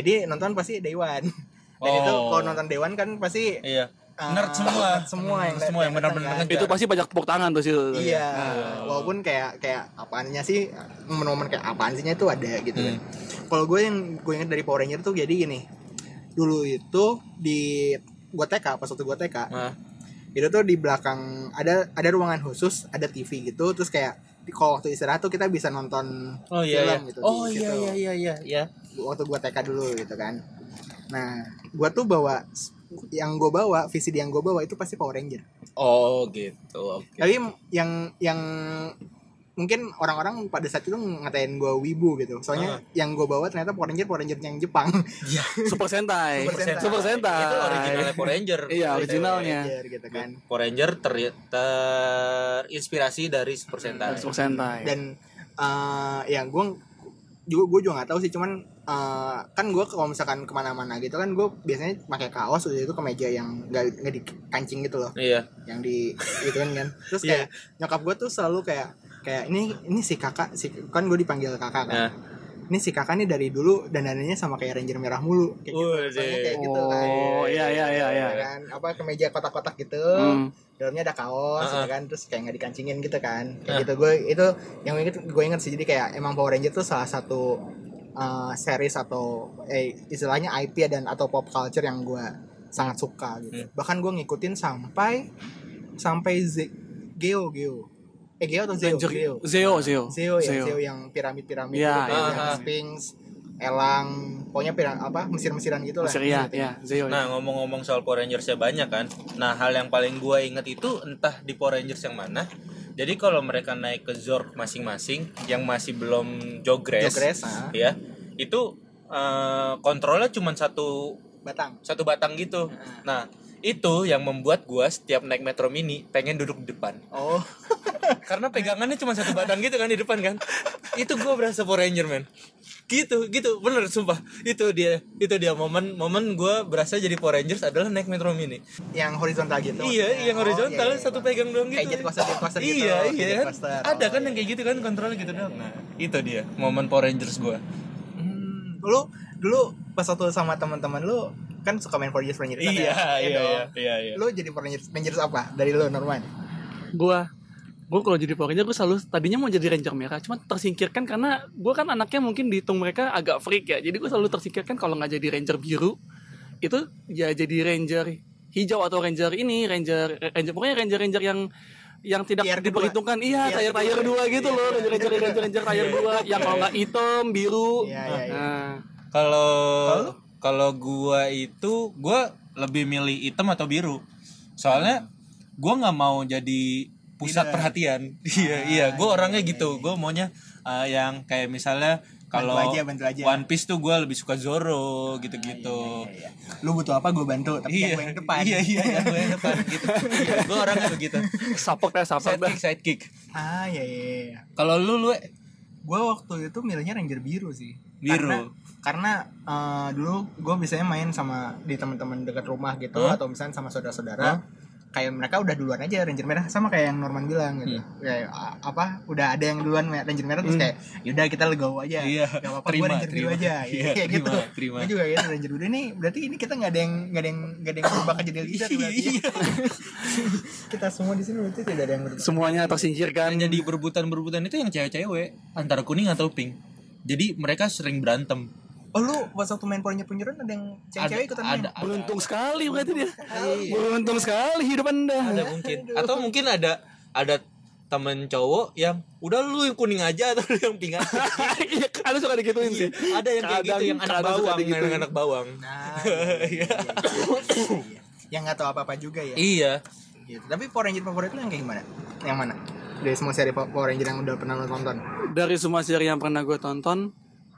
Speaker 2: jadi nonton pasti Dewan dan
Speaker 1: Oh.
Speaker 2: itu kalau nonton Dewan kan pasti
Speaker 1: iya
Speaker 2: Ah,
Speaker 1: nerd semua
Speaker 2: nerd semua yang-
Speaker 1: semua yang
Speaker 2: yang
Speaker 1: benar-benar
Speaker 2: datang, kan?
Speaker 1: ngejar.
Speaker 3: itu pasti banyak tepuk tangan tuh sih
Speaker 2: iya walaupun kayak kayak apaannya sih momen-momen kayak apaan sihnya itu ada gitu kan kalau gue yang gue ingat dari Power Ranger tuh jadi gini dulu itu di gue TK pas waktu gue TK
Speaker 1: Nah,
Speaker 2: itu tuh di belakang ada ada ruangan khusus ada TV gitu terus kayak di- kalau waktu istirahat tuh kita bisa nonton
Speaker 1: oh iya, iya.
Speaker 2: film gitu di
Speaker 1: oh iya
Speaker 2: situ.
Speaker 1: iya iya iya iya
Speaker 2: waktu gua TK dulu gitu kan nah gua tuh bawa yang gue bawa VCD yang gue bawa itu pasti Power Ranger
Speaker 1: oh gitu oke
Speaker 2: tapi yang yang mungkin orang-orang pada saat itu ngatain gua wibu gitu soalnya yang gue bawa ternyata Power Ranger Power Ranger yang Jepang
Speaker 3: Super Sentai
Speaker 2: Super Sentai.
Speaker 3: Super Sentai
Speaker 1: itu originalnya Power Ranger
Speaker 3: Iya, original. Originalnya.
Speaker 2: Ranger gitu kan
Speaker 1: Power Ranger ter- terinspirasi dari Super Sentai
Speaker 3: Super Sentai
Speaker 2: dan eh ya gue juga gue juga nggak tahu sih cuman eh, kan gue kalau misalkan kemana-mana gitu kan gue biasanya pakai kaos udah itu kemeja yang nggak nggak dikancing gitu loh
Speaker 1: iya
Speaker 2: yang di gitu kan kan terus
Speaker 3: Iya.
Speaker 2: kayak nyokap gue tuh selalu kayak kayak ini ini si kakak si kan gue dipanggil kakak kan
Speaker 1: Nah.
Speaker 2: ini si kakak nih dari dulu dandanannya sama kayak ranger merah mulu kayak gitu
Speaker 1: Wih,
Speaker 2: Soalnya kayak gitu kan
Speaker 3: oh iya iya Oh, iya iya
Speaker 2: kan apa kemeja kotak-kotak gitu
Speaker 3: Hmm.
Speaker 2: dalamnya ada kaos gitu
Speaker 1: Heeh.
Speaker 2: kan terus kayak nggak dikancingin gitu kan kayak
Speaker 1: Heeh.
Speaker 2: gitu gue itu yang gue inget gue inget sih jadi kayak emang Power Ranger tuh salah satu uh, series atau eh istilahnya IP dan atau pop culture yang gue sangat suka gitu bahkan gue ngikutin sampai sampai Z- Geo Geo eh Geo atau Zeo
Speaker 3: Ranger-
Speaker 2: Geo
Speaker 3: Zeo Zeo
Speaker 2: Zeo ya Zeo yang piramid-piramid
Speaker 3: Iya,
Speaker 2: gitu,
Speaker 1: iya.
Speaker 2: yang Sphinx Elang pokoknya piram apa mesir-mesiran gitu lah
Speaker 3: Masih iya
Speaker 2: Gitu.
Speaker 3: iya Zeo ya.
Speaker 1: Nah ngomong-ngomong soal Power Rangers ya banyak kan Nah hal yang paling gua inget itu entah di Power Rangers yang mana Jadi kalau mereka naik ke Zork masing-masing Yang masih belum Jogres,
Speaker 2: Jogres, ah.
Speaker 1: ya Itu eh, kontrolnya cuma satu
Speaker 2: Batang
Speaker 1: satu batang gitu Nah itu yang membuat gua setiap naik Metro Mini pengen duduk di depan
Speaker 2: oh
Speaker 1: karena pegangannya cuma satu batang gitu kan di depan kan itu gue berasa Power Ranger man gitu gitu bener sumpah itu dia itu dia momen momen gue berasa jadi Power Rangers adalah naik Metro Mini
Speaker 2: yang horizontal gitu
Speaker 1: iya
Speaker 2: maksudnya.
Speaker 1: yang
Speaker 2: Oh,
Speaker 1: horizontal
Speaker 2: iya, iya,
Speaker 1: satu
Speaker 2: iya.
Speaker 1: pegang doang gitu
Speaker 2: Kayak jet coaster, jet coaster gitu,
Speaker 1: iya iya
Speaker 2: jet
Speaker 1: kan?
Speaker 2: coaster.
Speaker 1: ada
Speaker 2: Oh,
Speaker 1: kan
Speaker 2: iya.
Speaker 1: yang kayak gitu kan kontrolnya gitu doang nah itu dia momen Power Rangers gue
Speaker 2: Hmm, lu dulu pas waktu sama teman-teman lu kan suka main Power Rangers Power Rangers
Speaker 1: iya
Speaker 2: kan ya?
Speaker 1: iya
Speaker 2: dong.
Speaker 1: iya iya iya
Speaker 2: lu jadi Power Rangers, Rangers apa dari lu Norman
Speaker 3: gua gua kalau jadi Power Ranger gua selalu tadinya mau jadi Ranger merah cuman tersingkirkan karena gua kan anaknya mungkin dihitung mereka agak freak ya jadi gua selalu tersingkirkan kalau nggak jadi Ranger biru itu ya jadi Ranger hijau atau Ranger ini Ranger Ranger pokoknya Ranger Ranger yang yang tidak
Speaker 2: Tier kedua.
Speaker 3: diperhitungkan iya
Speaker 2: Tier
Speaker 3: tayar tayar
Speaker 2: kedua. Iya,
Speaker 3: dua gitu loh Ranger Ranger Ranger Ranger tayar dua yang kalau nggak hitam biru
Speaker 2: Iya, iya, iya.
Speaker 3: Nah,
Speaker 1: kalau kalau gua itu gua lebih milih hitam atau biru soalnya gua nggak mau jadi pusat perhatian iya
Speaker 2: Ah,
Speaker 1: iya gua orangnya gitu gua maunya uh, yang kayak misalnya kalau
Speaker 2: iya. Bantu aja, bantu aja. Ah,
Speaker 1: One Piece tuh gua lebih suka Zoro gitu-gitu
Speaker 2: lu butuh apa gue bantu iya, tapi yang
Speaker 1: iya
Speaker 2: gua yang depan
Speaker 1: iya iya yang gua yang depan gitu iya, gua orangnya begitu
Speaker 3: support ya support dah.
Speaker 1: sidekick sidekick
Speaker 2: ah iya iya, iya.
Speaker 1: kalau lu lu
Speaker 2: gue waktu itu milihnya Ranger biru sih
Speaker 1: Biru.
Speaker 2: karena, karena eh, dulu gue biasanya main sama di teman-teman dekat rumah gitu atau misalnya sama saudara-saudara kayak mereka udah duluan aja Ranger merah sama kayak yang Norman bilang gitu kayak a- apa udah ada yang duluan me- Ranger merah terus kayak yaudah kita legowo aja
Speaker 1: Iya.
Speaker 2: gak apa-apa gue
Speaker 1: Terima,
Speaker 2: Ranger biru
Speaker 1: terima.
Speaker 2: aja
Speaker 1: Iya,
Speaker 2: kayak
Speaker 1: terima,
Speaker 2: gitu
Speaker 1: terima.
Speaker 2: gue juga gitu Ranger biru ini berarti ini kita nggak ada yang nggak ada yang nggak ada yang berubah jadi leader berarti
Speaker 1: iya,
Speaker 2: ya. kita semua di sini berarti tidak ada yang berubah
Speaker 3: semuanya tersingkirkan
Speaker 1: yang jadi berebutan-berebutan itu yang cewek-cewek antara kuning atau pink jadi mereka sering berantem
Speaker 2: oh lu pas waktu main Power Ranger Punjeron ada yang cewek-cewek ikutan main?
Speaker 1: ada, ada,
Speaker 3: beruntung sekali
Speaker 1: Iya.
Speaker 3: berarti dia beruntung sekali hidup anda
Speaker 1: ada mungkin atau mungkin ada ada temen cowok yang udah lu yang kuning aja atau lu yang pink aja.
Speaker 3: Iya, kadang suka digituin sih.
Speaker 1: ada yang kayak gitu
Speaker 3: Kadang-
Speaker 1: yang anak
Speaker 3: kadang suka
Speaker 1: bawang, gitu.
Speaker 3: digituin.
Speaker 1: yang anak bawang.
Speaker 2: Nah,
Speaker 1: Iya.
Speaker 2: iya. yang nggak tahu apa-apa juga ya.
Speaker 1: Iya.
Speaker 2: Gitu. Tapi Power Ranger favorit lu yang kayak gimana? Yang mana? Dari semua seri Po- Power Ranger yang udah pernah lo tonton.
Speaker 3: Dari semua seri yang pernah gue tonton,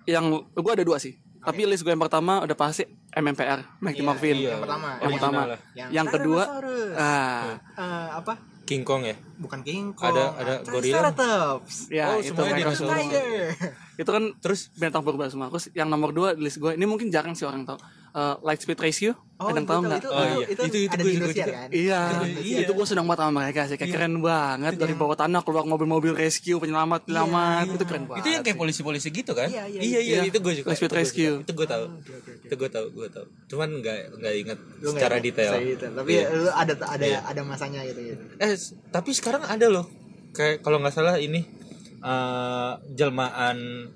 Speaker 3: yang gue ada dua sih. Tapi list gue yang pertama udah pasti MMPR, Mighty
Speaker 2: Iya,
Speaker 3: Morphin.
Speaker 1: iya.
Speaker 2: Yang pertama.
Speaker 3: Yang pertama.
Speaker 1: Original lah.
Speaker 2: Yang,
Speaker 3: Yang kedua,
Speaker 2: Tyrannosaurus.
Speaker 3: ah,
Speaker 2: Eh, apa?
Speaker 1: King Kong ya.
Speaker 2: Bukan King Kong. Ah,
Speaker 1: Ada- ada gorila.
Speaker 2: Triceratops.
Speaker 3: ya
Speaker 1: Oh,
Speaker 3: itu
Speaker 1: semuanya
Speaker 3: mereka
Speaker 1: dinosaurus.
Speaker 3: semua.
Speaker 2: Tiger.
Speaker 1: Eh,
Speaker 3: Itu kan
Speaker 1: Terus
Speaker 3: bentang purba semua. Terus yang nomor dua di list gue, ini mungkin jarang sih orang tahu. Eh, Lightspeed Ratio, ada
Speaker 2: itu
Speaker 3: yang tahu
Speaker 2: tahu,
Speaker 3: nggak?
Speaker 2: Itu,
Speaker 1: Oh, iya.
Speaker 2: itu,
Speaker 1: Itu- itu gue
Speaker 2: ada di
Speaker 1: juga-
Speaker 2: Indonesia
Speaker 1: juga.
Speaker 2: kan?
Speaker 3: Iya,
Speaker 1: Iya.
Speaker 3: itu gue senang banget sama mereka sih, kayak keren banget dari bawah tanah keluar mobil-mobil rescue, penyelamat-penyelamat, itu keren banget.
Speaker 1: itu yang kayak polisi-polisi gitu kan?
Speaker 2: Ah, Iya, iya,
Speaker 1: iya,
Speaker 3: iya.
Speaker 1: itu gue juga.
Speaker 3: Last Minute
Speaker 1: itu gua
Speaker 3: Rescue.
Speaker 1: suka. Itu gue tahu.
Speaker 2: Oke, oke, oke.
Speaker 1: Itu gue tahu, gue tahu. Cuman nggak nggak inget
Speaker 2: Lu nggak
Speaker 1: secara
Speaker 2: ingat,
Speaker 1: detail.
Speaker 2: secara Tapi
Speaker 1: Iya.
Speaker 2: lu ada ada
Speaker 1: Iya.
Speaker 2: ada masanya gitu gitu.
Speaker 1: Eh, s- tapi sekarang ada loh. Kayak kalau nggak salah ini eh jelmaan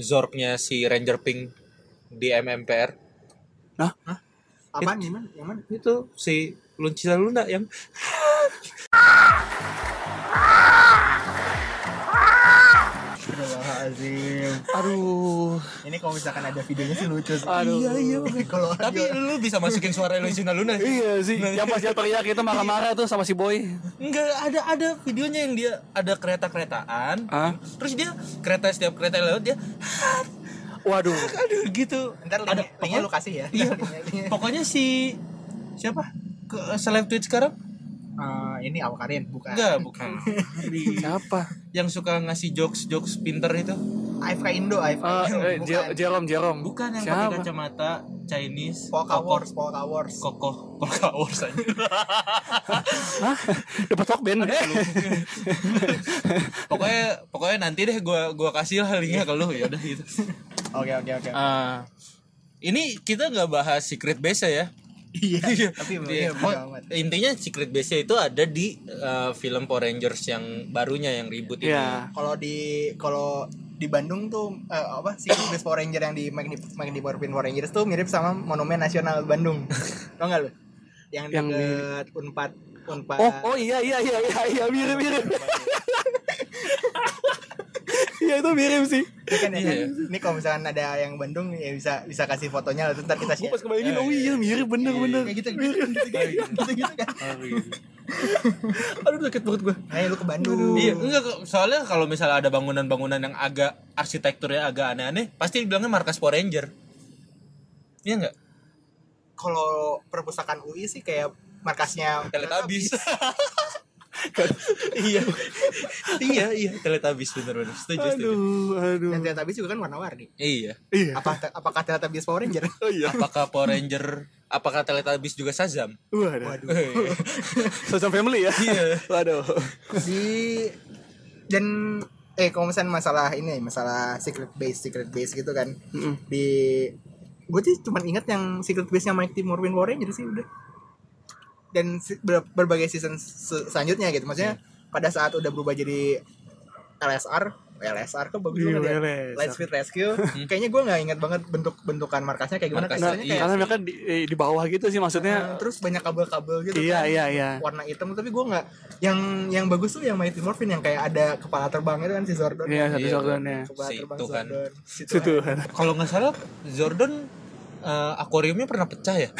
Speaker 1: Zorknya si Ranger Pink di MMPR
Speaker 2: Apaan gimana? Yang mana?
Speaker 1: itu si Luncita Luna yang
Speaker 2: Astagfirullahaladzim.
Speaker 3: Aduh,
Speaker 2: Ini kalau misalkan ada videonya sih lucu sih.
Speaker 3: Aduh.
Speaker 2: Iya iya. Kalau
Speaker 1: tapi lu bisa masukin suara Luncita Luna sih?
Speaker 3: iya sih. yang pas dia teriak itu marah-marah tuh sama si boy.
Speaker 1: Enggak ada ada videonya yang dia ada kereta-keretaan.
Speaker 3: Ah.
Speaker 1: Terus dia kereta setiap kereta yang lewat dia
Speaker 3: Waduh,
Speaker 1: aduh gitu.
Speaker 2: ntar
Speaker 1: ada
Speaker 2: linknya, linknya lu kasih ya.
Speaker 1: Iya.
Speaker 2: Linknya-
Speaker 1: Pokoknya si siapa? Ke seleb tweet sekarang?
Speaker 2: Eh, ini awak Karin bukan.
Speaker 1: Enggak, Ah, bukan.
Speaker 3: siapa?
Speaker 1: yang suka ngasih jokes-jokes pinter itu.
Speaker 2: AFK Indo, AFK
Speaker 3: Eh,
Speaker 2: Indo.
Speaker 3: eh, Je-
Speaker 2: bukan.
Speaker 3: Jerome, Jerome.
Speaker 1: Bukan yang pakai
Speaker 3: siapa?
Speaker 1: kacamata Chinese.
Speaker 2: Polka
Speaker 1: kokoh.
Speaker 2: Wars, Polka Wars.
Speaker 1: Kokoh, Polka Wars aja.
Speaker 3: Hah? Dapat talk band. Iya.
Speaker 1: pokoknya pokoknya nanti deh gua gua kasih lah linknya ke lu ya udah gitu.
Speaker 2: Oke oke oke.
Speaker 1: Ah, ini kita nggak bahas secret base ya. Iya,
Speaker 2: tapi emang
Speaker 1: Iya.
Speaker 2: iya, bodo amat.
Speaker 1: intinya secret base itu ada di eh, film Power Rangers yang barunya yang ribut ini.
Speaker 3: Iya.
Speaker 2: Kalau di kalau di Bandung tuh eh, apa sih Base Power Ranger yang di Magni Magni Morphin Power Rangers tuh mirip sama Monumen Nasional Bandung. Tau nggak lu? Yang,
Speaker 3: Yang di-
Speaker 2: deket Unpad Unpad.
Speaker 3: Oh, oh iya iya iya iya iya mirip mirip. Iya itu mirip sih.
Speaker 2: Iya kan, ya kan?
Speaker 1: Iya.
Speaker 2: Ini kalau misalkan ada yang Bandung ya bisa bisa kasih fotonya lalu ntar kita
Speaker 3: Gue
Speaker 2: share.
Speaker 3: pas kebayangin, oh iya mirip bener bener.
Speaker 2: Kayak gitu gitu gitu, gitu, gitu, gitu kan.
Speaker 1: Oh, iya.
Speaker 3: Aduh sakit banget gue.
Speaker 2: Nah, lu ke Bandung.
Speaker 1: Iya, enggak kok. soalnya kalau misalnya ada bangunan-bangunan yang agak arsitekturnya agak aneh-aneh, pasti bilangnya markas Power Ranger. Iya enggak?
Speaker 2: Kalau perpustakaan UI sih kayak markasnya
Speaker 1: Teletabis. iya. iya, iya, Teletabis bener-bener. Setuju, setuju.
Speaker 3: Aduh, aduh.
Speaker 2: Dan Teletabis juga kan warna-warni.
Speaker 1: Iya.
Speaker 3: Iya.
Speaker 2: Apa apakah Teletabis Power Ranger?
Speaker 3: Oh iya.
Speaker 1: Apakah Power Ranger apakah Teletabis juga Shazam?
Speaker 3: Waduh.
Speaker 2: Waduh.
Speaker 3: Sosok family ya.
Speaker 1: Iya.
Speaker 3: Waduh.
Speaker 2: di dan eh kalau misalnya masalah ini masalah secret base secret base gitu kan
Speaker 3: Mm-mm.
Speaker 2: di gue sih cuman ingat yang secret base nya Mighty Morphin Power Ranger sih udah dan se- ber- berbagai season se- selanjutnya gitu maksudnya
Speaker 3: Iya.
Speaker 2: pada saat udah berubah jadi LSR LSR kok bagus
Speaker 3: Iya,
Speaker 2: banget ya
Speaker 3: LSR.
Speaker 2: Lightspeed Rescue kayaknya gue nggak ingat banget bentuk bentukan markasnya kayak gimana
Speaker 1: Markas,
Speaker 3: Nah,
Speaker 2: kayaknya
Speaker 1: Hmm. iya.
Speaker 2: kayak
Speaker 3: karena mereka di, eh, di bawah gitu sih
Speaker 2: eh,
Speaker 3: maksudnya.
Speaker 1: Ah,
Speaker 2: terus banyak kabel-kabel gitu
Speaker 3: Iya
Speaker 2: kan
Speaker 3: iya iya.
Speaker 2: warna hitam tapi gue nggak yang yang bagus tuh yang Mighty Morphin yang kayak ada kepala terbang itu kan si Zordon
Speaker 3: Iya satu
Speaker 1: Iya.
Speaker 3: sorgannya.
Speaker 2: kepala
Speaker 1: Si
Speaker 2: terbang
Speaker 1: itu kan.
Speaker 2: Zordon situ
Speaker 3: Situ.
Speaker 1: Kalau nggak salah Jordan eh, akuariumnya pernah pecah ya?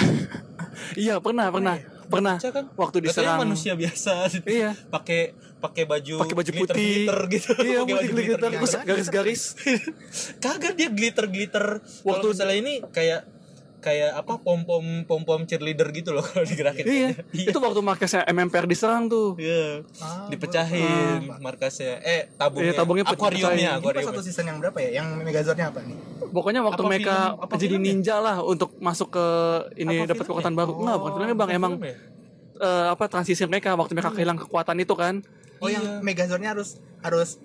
Speaker 3: Iya pernah pernah pernah.
Speaker 1: Pecah kan?
Speaker 3: Waktu
Speaker 1: Katanya
Speaker 3: diserang.
Speaker 1: manusia biasa gitu.
Speaker 3: Iya.
Speaker 1: Pakai pakai baju
Speaker 3: Pakai baju
Speaker 1: glitter-
Speaker 3: putih.
Speaker 1: glitter gitu.
Speaker 3: Iya
Speaker 1: Pakai
Speaker 3: putih glitter.
Speaker 1: glitter-glitter.
Speaker 3: Terus garis-garis.
Speaker 1: kagak dia glitter glitter waktu
Speaker 3: Waktu-
Speaker 1: misalnya ini kayak kayak apa pom pom pom pom cheerleader gitu loh kalau digerakin
Speaker 3: Iya. Itu waktu markasnya MMPR diserang tuh.
Speaker 1: Iya.
Speaker 2: Ah,
Speaker 1: dipecahin markasnya eh tabungnya,
Speaker 3: Iya, tabungnya pecah-
Speaker 1: akuariumnya
Speaker 3: pecahin.
Speaker 2: ini pas satu
Speaker 1: akuariumnya
Speaker 2: season yang berapa ya yang Megazordnya apa nih
Speaker 3: Pokoknya waktu
Speaker 1: Apa
Speaker 3: mereka
Speaker 1: film- apa
Speaker 3: jadi
Speaker 1: film ya?
Speaker 3: ninja lah untuk masuk ke ini
Speaker 1: Apa
Speaker 3: dapat
Speaker 1: film
Speaker 3: kekuatan
Speaker 1: ya?
Speaker 3: baru. Enggak, bukan filmnya Bang, emang
Speaker 1: Film ya?
Speaker 3: eh, apa transisi mereka waktu mereka kehilangan kekuatan itu kan.
Speaker 2: oh yang Megazordnya harus harus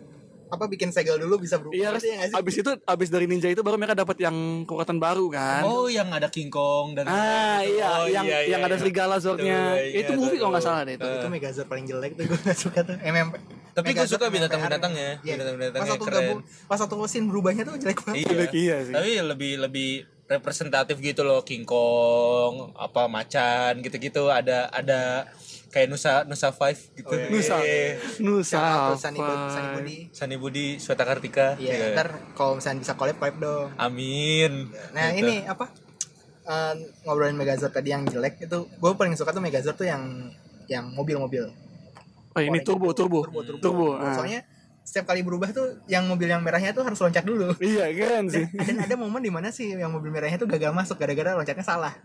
Speaker 2: apa bikin segel dulu bisa berubah gitu
Speaker 3: Iya,
Speaker 2: ya nggak sih?
Speaker 3: abis itu abis dari ninja itu baru mereka dapat yang kekuatan baru kan.
Speaker 1: oh yang ada King Kong dan
Speaker 3: Ah iya,
Speaker 1: Oh,
Speaker 3: yang
Speaker 1: iya, iya,
Speaker 3: yang ada
Speaker 1: iya.
Speaker 3: serigala zornya.
Speaker 1: Betul, iya,
Speaker 3: itu movie kalau nggak
Speaker 1: betul.
Speaker 3: salah deh itu.
Speaker 2: itu Megazord paling jelek tuh gue nggak suka tuh MM
Speaker 1: Eh. Tapi gua suka binatang-binatangnya, binatang-binatangnya
Speaker 2: Iya. pas waktu
Speaker 1: keren.
Speaker 2: gabung pas waktu mesin berubahnya tuh jelek banget
Speaker 1: iya.
Speaker 3: iya sih.
Speaker 1: tapi lebih lebih representatif gitu loh King Kong apa macan gitu gitu ada ada kayak Nusa Nusa Five gitu.
Speaker 2: Oh, iya.
Speaker 3: Nusa.
Speaker 1: Iya.
Speaker 3: Nusa
Speaker 2: Shout out to Sunny Bud- Sunny
Speaker 3: apa?
Speaker 2: Budi.
Speaker 1: Sani Budi, Sweta Kartika.
Speaker 2: Iya,
Speaker 1: Iya.
Speaker 2: ntar kalau misalnya bisa collab collab dong.
Speaker 1: Amin.
Speaker 2: Nah
Speaker 1: Gitu.
Speaker 2: ini apa Eh, ngobrolin Megazord tadi yang jelek itu, gue paling suka tuh Megazord tuh yang yang mobil-mobil.
Speaker 3: Oh ini
Speaker 2: Warnanya
Speaker 3: turbo, turbo,
Speaker 2: turbo, turbo.
Speaker 3: turbo. ah.
Speaker 2: Soalnya setiap kali berubah tuh yang mobil yang merahnya tuh harus loncat dulu.
Speaker 3: Iya keren sih.
Speaker 2: Dan ada momen di mana sih yang mobil merahnya tuh gagal masuk gara-gara loncatnya salah.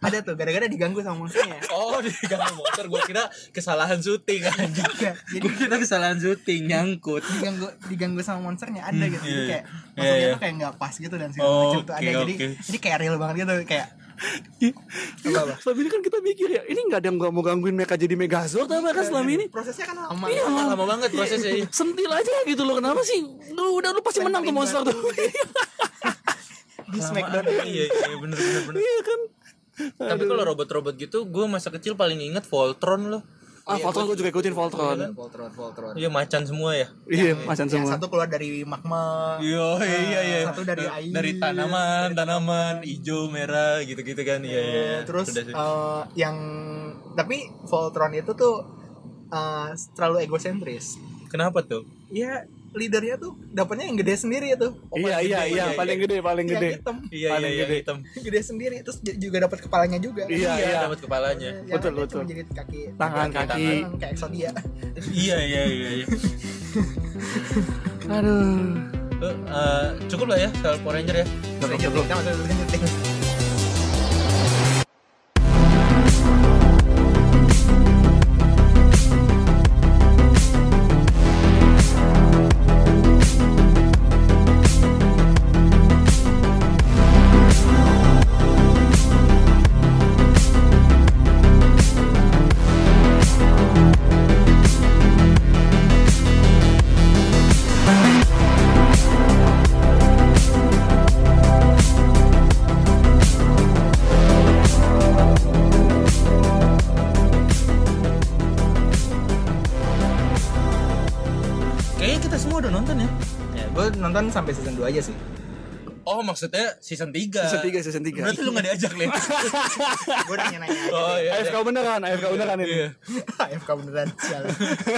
Speaker 2: Ada tuh gara-gara diganggu sama monsternya.
Speaker 1: Oh, diganggu motor. Gua kira kesalahan syuting anjing.
Speaker 2: Iya, jadi
Speaker 1: Gua kira kesalahan syuting nyangkut.
Speaker 2: diganggu diganggu sama monsternya ada gitu. Jadi
Speaker 1: iya,
Speaker 2: kayak
Speaker 1: iya. Iya,
Speaker 2: masuknya
Speaker 1: iya.
Speaker 2: tuh kayak nggak pas gitu dan segala
Speaker 1: Oh,
Speaker 2: macam tuh ada.
Speaker 1: oke,
Speaker 2: Jadi
Speaker 1: oke.
Speaker 2: jadi kayak real banget gitu kayak apa apa.
Speaker 3: Selama ini kan kita mikir ya, ini nggak ada yang nggak mau gangguin mereka jadi Megazord apa kan selama ini?
Speaker 2: prosesnya kan lama.
Speaker 1: Lama banget prosesnya. iya.
Speaker 3: Sentil aja gitu loh, kenapa sih? Lu udah lu pasti menang tuh monster tuh. Iya, kan?
Speaker 2: Di Smackdown.
Speaker 1: Iya, iya bener bener bener.
Speaker 3: Iya kan?
Speaker 1: Tapi kalau robot-robot gitu, gue masa kecil paling inget Voltron loh.
Speaker 3: Ah, Voltron gue juga ikutin Voltron.
Speaker 2: Voltron, Voltron.
Speaker 1: Iya macan semua ya.
Speaker 3: Iya, macan
Speaker 2: Yang
Speaker 3: semua.
Speaker 2: satu keluar dari magma. eh,
Speaker 1: Iya iya iya.
Speaker 2: satu dari air.
Speaker 1: dari tanaman, tanaman hijau, merah gitu-gitu kan. Iya iya. iya.
Speaker 2: terus
Speaker 1: Sudah sih.
Speaker 2: eh, yang tapi Voltron itu tuh eh, terlalu egosentris.
Speaker 1: kenapa tuh?
Speaker 2: Ya leadernya tuh dapatnya yang gede sendiri itu.
Speaker 3: Iya, iya, iya, paling gede, paling
Speaker 2: Yang
Speaker 3: gede.
Speaker 2: hitam.
Speaker 1: Iya
Speaker 3: Paling
Speaker 1: iya yang
Speaker 3: gede.
Speaker 1: hitam.
Speaker 2: Gede sendiri terus j- juga dapat kepalanya juga.
Speaker 3: Iya,
Speaker 1: Iya,
Speaker 3: iya.
Speaker 1: dapat kepalanya.
Speaker 2: Yang
Speaker 3: Betul,
Speaker 2: lainnya
Speaker 3: betul.
Speaker 2: cuma jadi kaki
Speaker 3: Tangan,
Speaker 2: tangan,
Speaker 3: kaki.
Speaker 2: kayak Exodia.
Speaker 1: iya iya iya. iya.
Speaker 3: Aduh.
Speaker 1: Eh, eh, cukup lah ya soal Power Ranger ya.
Speaker 2: Ranger Blink, sama Ranger Blink.
Speaker 1: Kayaknya kita semua udah nonton ya.
Speaker 2: Ya, gue nonton sampai season 2 aja sih.
Speaker 1: Oh maksudnya season 3
Speaker 3: Season tiga, season tiga.
Speaker 1: Berarti lu gak diajak Lin
Speaker 2: Gue nanya-nanya aja.
Speaker 1: Oh iya
Speaker 3: AFK beneran, AFK beneran ini.
Speaker 1: Iya
Speaker 2: AFK beneran sialan.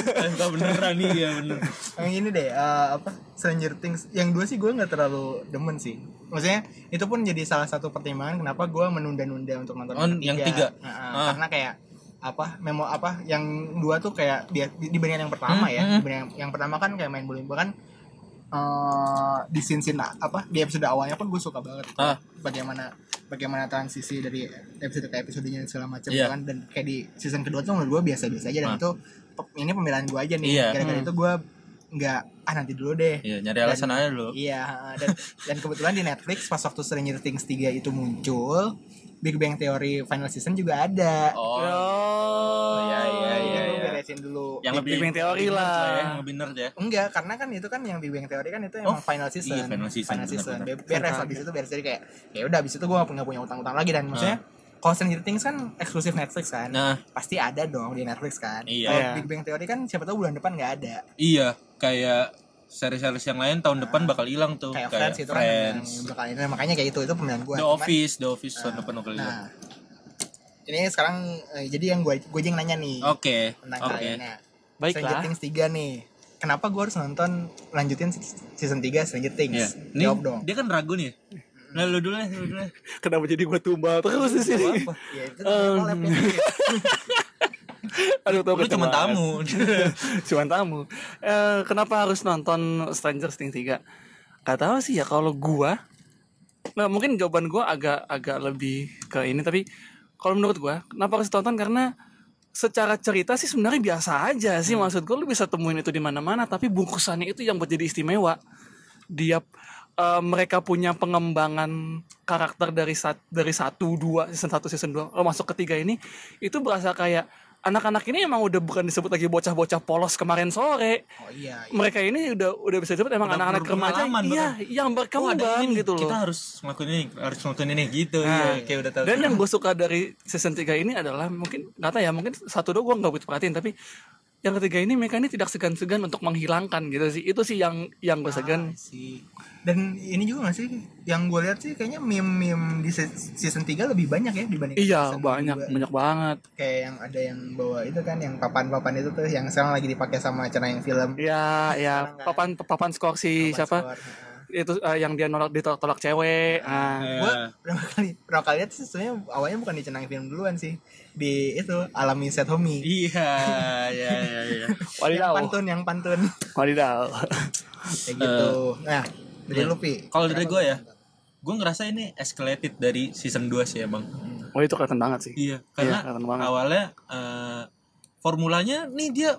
Speaker 1: AFK Eh, beneran nih ya bener
Speaker 2: yang ini deh eh, apa Stranger Things yang dua sih gue nggak terlalu demen sih maksudnya itu pun jadi salah satu pertimbangan kenapa gue menunda-nunda untuk nonton
Speaker 1: Oh, yang tiga.
Speaker 2: Heeh,
Speaker 1: Ah.
Speaker 2: karena kayak apa memo apa yang dua tuh kayak dia dibandingkan yang pertama
Speaker 1: Hmm,
Speaker 2: ya
Speaker 1: hmm.
Speaker 2: dibandingkan yang, yang pertama kan kayak main bullying bahkan eh di scene scene apa di episode awalnya pun gue suka banget
Speaker 1: Ah.
Speaker 2: bagaimana bagaimana transisi dari episode ke episodenya dan segala macam
Speaker 1: Iya.
Speaker 2: kan dan kayak di season kedua tuh menurut gue biasa-biasa aja dan
Speaker 1: Ah.
Speaker 2: itu pe- ini pemilihan gue aja nih
Speaker 1: Iya.
Speaker 2: gara-gara
Speaker 3: Hmm.
Speaker 2: itu gue nggak ah nanti dulu deh
Speaker 1: Iya nyari alasan aja dulu
Speaker 2: iya dan, dan kebetulan di Netflix pas waktu Stranger Things 3 itu muncul Big Bang Theory final season juga ada
Speaker 3: iya,
Speaker 1: Oh iya iya
Speaker 2: Jadi
Speaker 1: iya
Speaker 2: gua
Speaker 1: iya.
Speaker 2: beresin dulu
Speaker 1: Yang
Speaker 3: Big
Speaker 1: lebih
Speaker 3: Bang Theory
Speaker 1: nerd
Speaker 3: lah.
Speaker 1: ya, Yang lebih nerd ya
Speaker 2: enggak karena kan itu kan yang Big Bang Theory kan itu
Speaker 1: Oh,
Speaker 2: emang final season
Speaker 1: iya, final season, benar,
Speaker 2: season.
Speaker 1: benar.
Speaker 2: Be- beres habis itu beres jadi kayak ya udah habis itu gue nggak punya utang-utang lagi dan maksudnya kalau Stranger Things kan eksklusif Netflix kan
Speaker 1: Nah
Speaker 2: pasti ada dong di Netflix kan
Speaker 1: Iya.
Speaker 2: kalau
Speaker 3: Iya.
Speaker 2: Big Bang Theory kan siapa tahu bulan depan nggak ada
Speaker 1: iya Kayak series-series yang lain tahun depan bakal hilang tuh
Speaker 2: Ah. kayak, Friends itu kan yang
Speaker 1: Friends.
Speaker 2: bakal ini makanya kayak itu itu pemilihan gue
Speaker 1: The Office The Office tahun depan bakal hilang
Speaker 2: nah ini sekarang eh, jadi yang gue gue yang nanya nih
Speaker 1: Oke
Speaker 2: tentang
Speaker 1: Oke
Speaker 2: kalian Stranger
Speaker 3: Baiklah.
Speaker 2: Things 3 nih kenapa gue harus nonton lanjutin se- season 3 Stranger
Speaker 1: Iya.
Speaker 2: Things
Speaker 1: Nih,
Speaker 2: jawab dong
Speaker 1: Dia kan ragu nih Nah lu dulu deh lu dulu deh.
Speaker 3: Kenapa jadi gua tumbal terus di sini?
Speaker 2: ya itu
Speaker 3: Em.
Speaker 2: collab ya.
Speaker 3: Aduh, tau
Speaker 1: Lu cuma tamu
Speaker 3: cuman tamu Eh, kenapa harus nonton Stranger Things 3 gak tahu sih ya kalau gua nah mungkin jawaban gua agak agak lebih ke ini tapi kalau menurut gua kenapa harus tonton karena secara cerita sih sebenarnya biasa aja sih
Speaker 1: Hmm.
Speaker 3: maksud gua lu bisa temuin itu di mana-mana tapi bungkusannya itu yang buat jadi istimewa dia eh, mereka punya pengembangan karakter dari sat- dari satu dua season satu season dua oh, masuk ketiga ini itu berasa kayak anak-anak ini emang udah bukan disebut lagi bocah-bocah polos kemarin sore
Speaker 2: oh iya iya.
Speaker 3: mereka ini udah udah bisa disebut emang
Speaker 1: Udah
Speaker 3: anak-anak remaja
Speaker 1: berpengalaman
Speaker 3: iya
Speaker 1: bahkan.
Speaker 3: yang
Speaker 1: Oh, ada
Speaker 3: berkembang
Speaker 1: ini nih,
Speaker 3: gitu loh
Speaker 1: Kita harus ngelakuin ini, harus ngelakuin ini gitu.
Speaker 2: Nah,
Speaker 1: Iya, kayak udah tahu.
Speaker 3: dan yang gue suka dari season 3 ini adalah mungkin nggak tahu ya mungkin satu dua gue nggak butuh perhatiin tapi yang ketiga ini mereka ini tidak segan-segan untuk menghilangkan gitu sih itu sih yang
Speaker 2: Ah,
Speaker 3: yang gue segan
Speaker 2: sih dan ini juga gak sih yang gue lihat sih kayaknya meme-meme di se- season 3 lebih banyak ya dibanding
Speaker 3: iya
Speaker 2: season
Speaker 3: banyak
Speaker 2: dua.
Speaker 3: banyak banget
Speaker 2: kayak yang ada yang bawa itu kan yang papan-papan itu tuh yang sekarang lagi dipakai sama channel yang film
Speaker 3: ya ya
Speaker 2: Sekarang nggak
Speaker 3: papan papan skor
Speaker 2: Papan
Speaker 3: si siapa
Speaker 2: skor.
Speaker 3: itu eh, yang dia nolak ditolak cewek ah.
Speaker 2: Gua
Speaker 1: Eh.
Speaker 2: pertama kali pertama kali lihat sih sebenarnya awalnya bukan di Cenang Film duluan sih di itu alami set homie
Speaker 1: Iya, iya, iya, iya.
Speaker 2: yang
Speaker 3: wadidaw
Speaker 2: pantun yang pantun
Speaker 3: wadidaw
Speaker 2: kayak gitu nah dari Lupi
Speaker 1: Eh. Iya. Kalau dari
Speaker 2: Kenapa
Speaker 1: gue
Speaker 2: lu
Speaker 1: ya,
Speaker 2: nonton?
Speaker 1: gue ngerasa ini escalated dari season 2 sih emang.
Speaker 3: oh itu kelihatan banget sih
Speaker 1: Iya, karena
Speaker 3: Iya, keren banget.
Speaker 1: awalnya eh, formulanya nih dia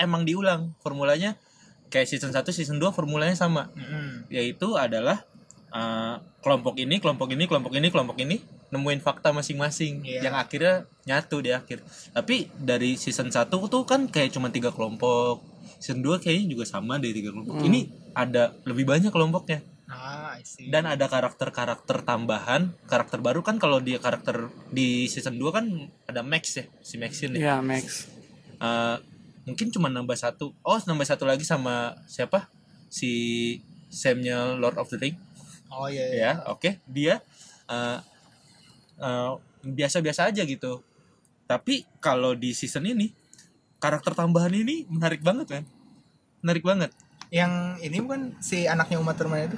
Speaker 1: emang diulang. Formulanya kayak season 1, season 2 formulanya sama,
Speaker 2: Mm-mm.
Speaker 1: yaitu adalah eh, kelompok ini, kelompok ini, kelompok ini, kelompok ini nemuin fakta masing-masing
Speaker 2: Iya.
Speaker 1: yang akhirnya nyatu di akhir. Tapi dari season 1 tuh kan kayak cuma tiga kelompok. Season 2 kayaknya juga sama dari tiga kelompok. Ini ada lebih banyak kelompoknya
Speaker 2: ah I see
Speaker 1: dan ada karakter-karakter tambahan karakter baru kan kalau dia karakter di season 2 kan ada Max ya si Maxin ya
Speaker 3: Iya Max
Speaker 1: Eh, mungkin cuma nambah satu oh nambah satu lagi sama siapa si Samuel Lord of the Ring
Speaker 2: oh iya iya
Speaker 1: ya oke dia eh, eh, biasa-biasa aja gitu tapi kalau di season ini karakter tambahan ini menarik banget kan menarik banget
Speaker 2: yang ini bukan si anaknya Uma Thurman itu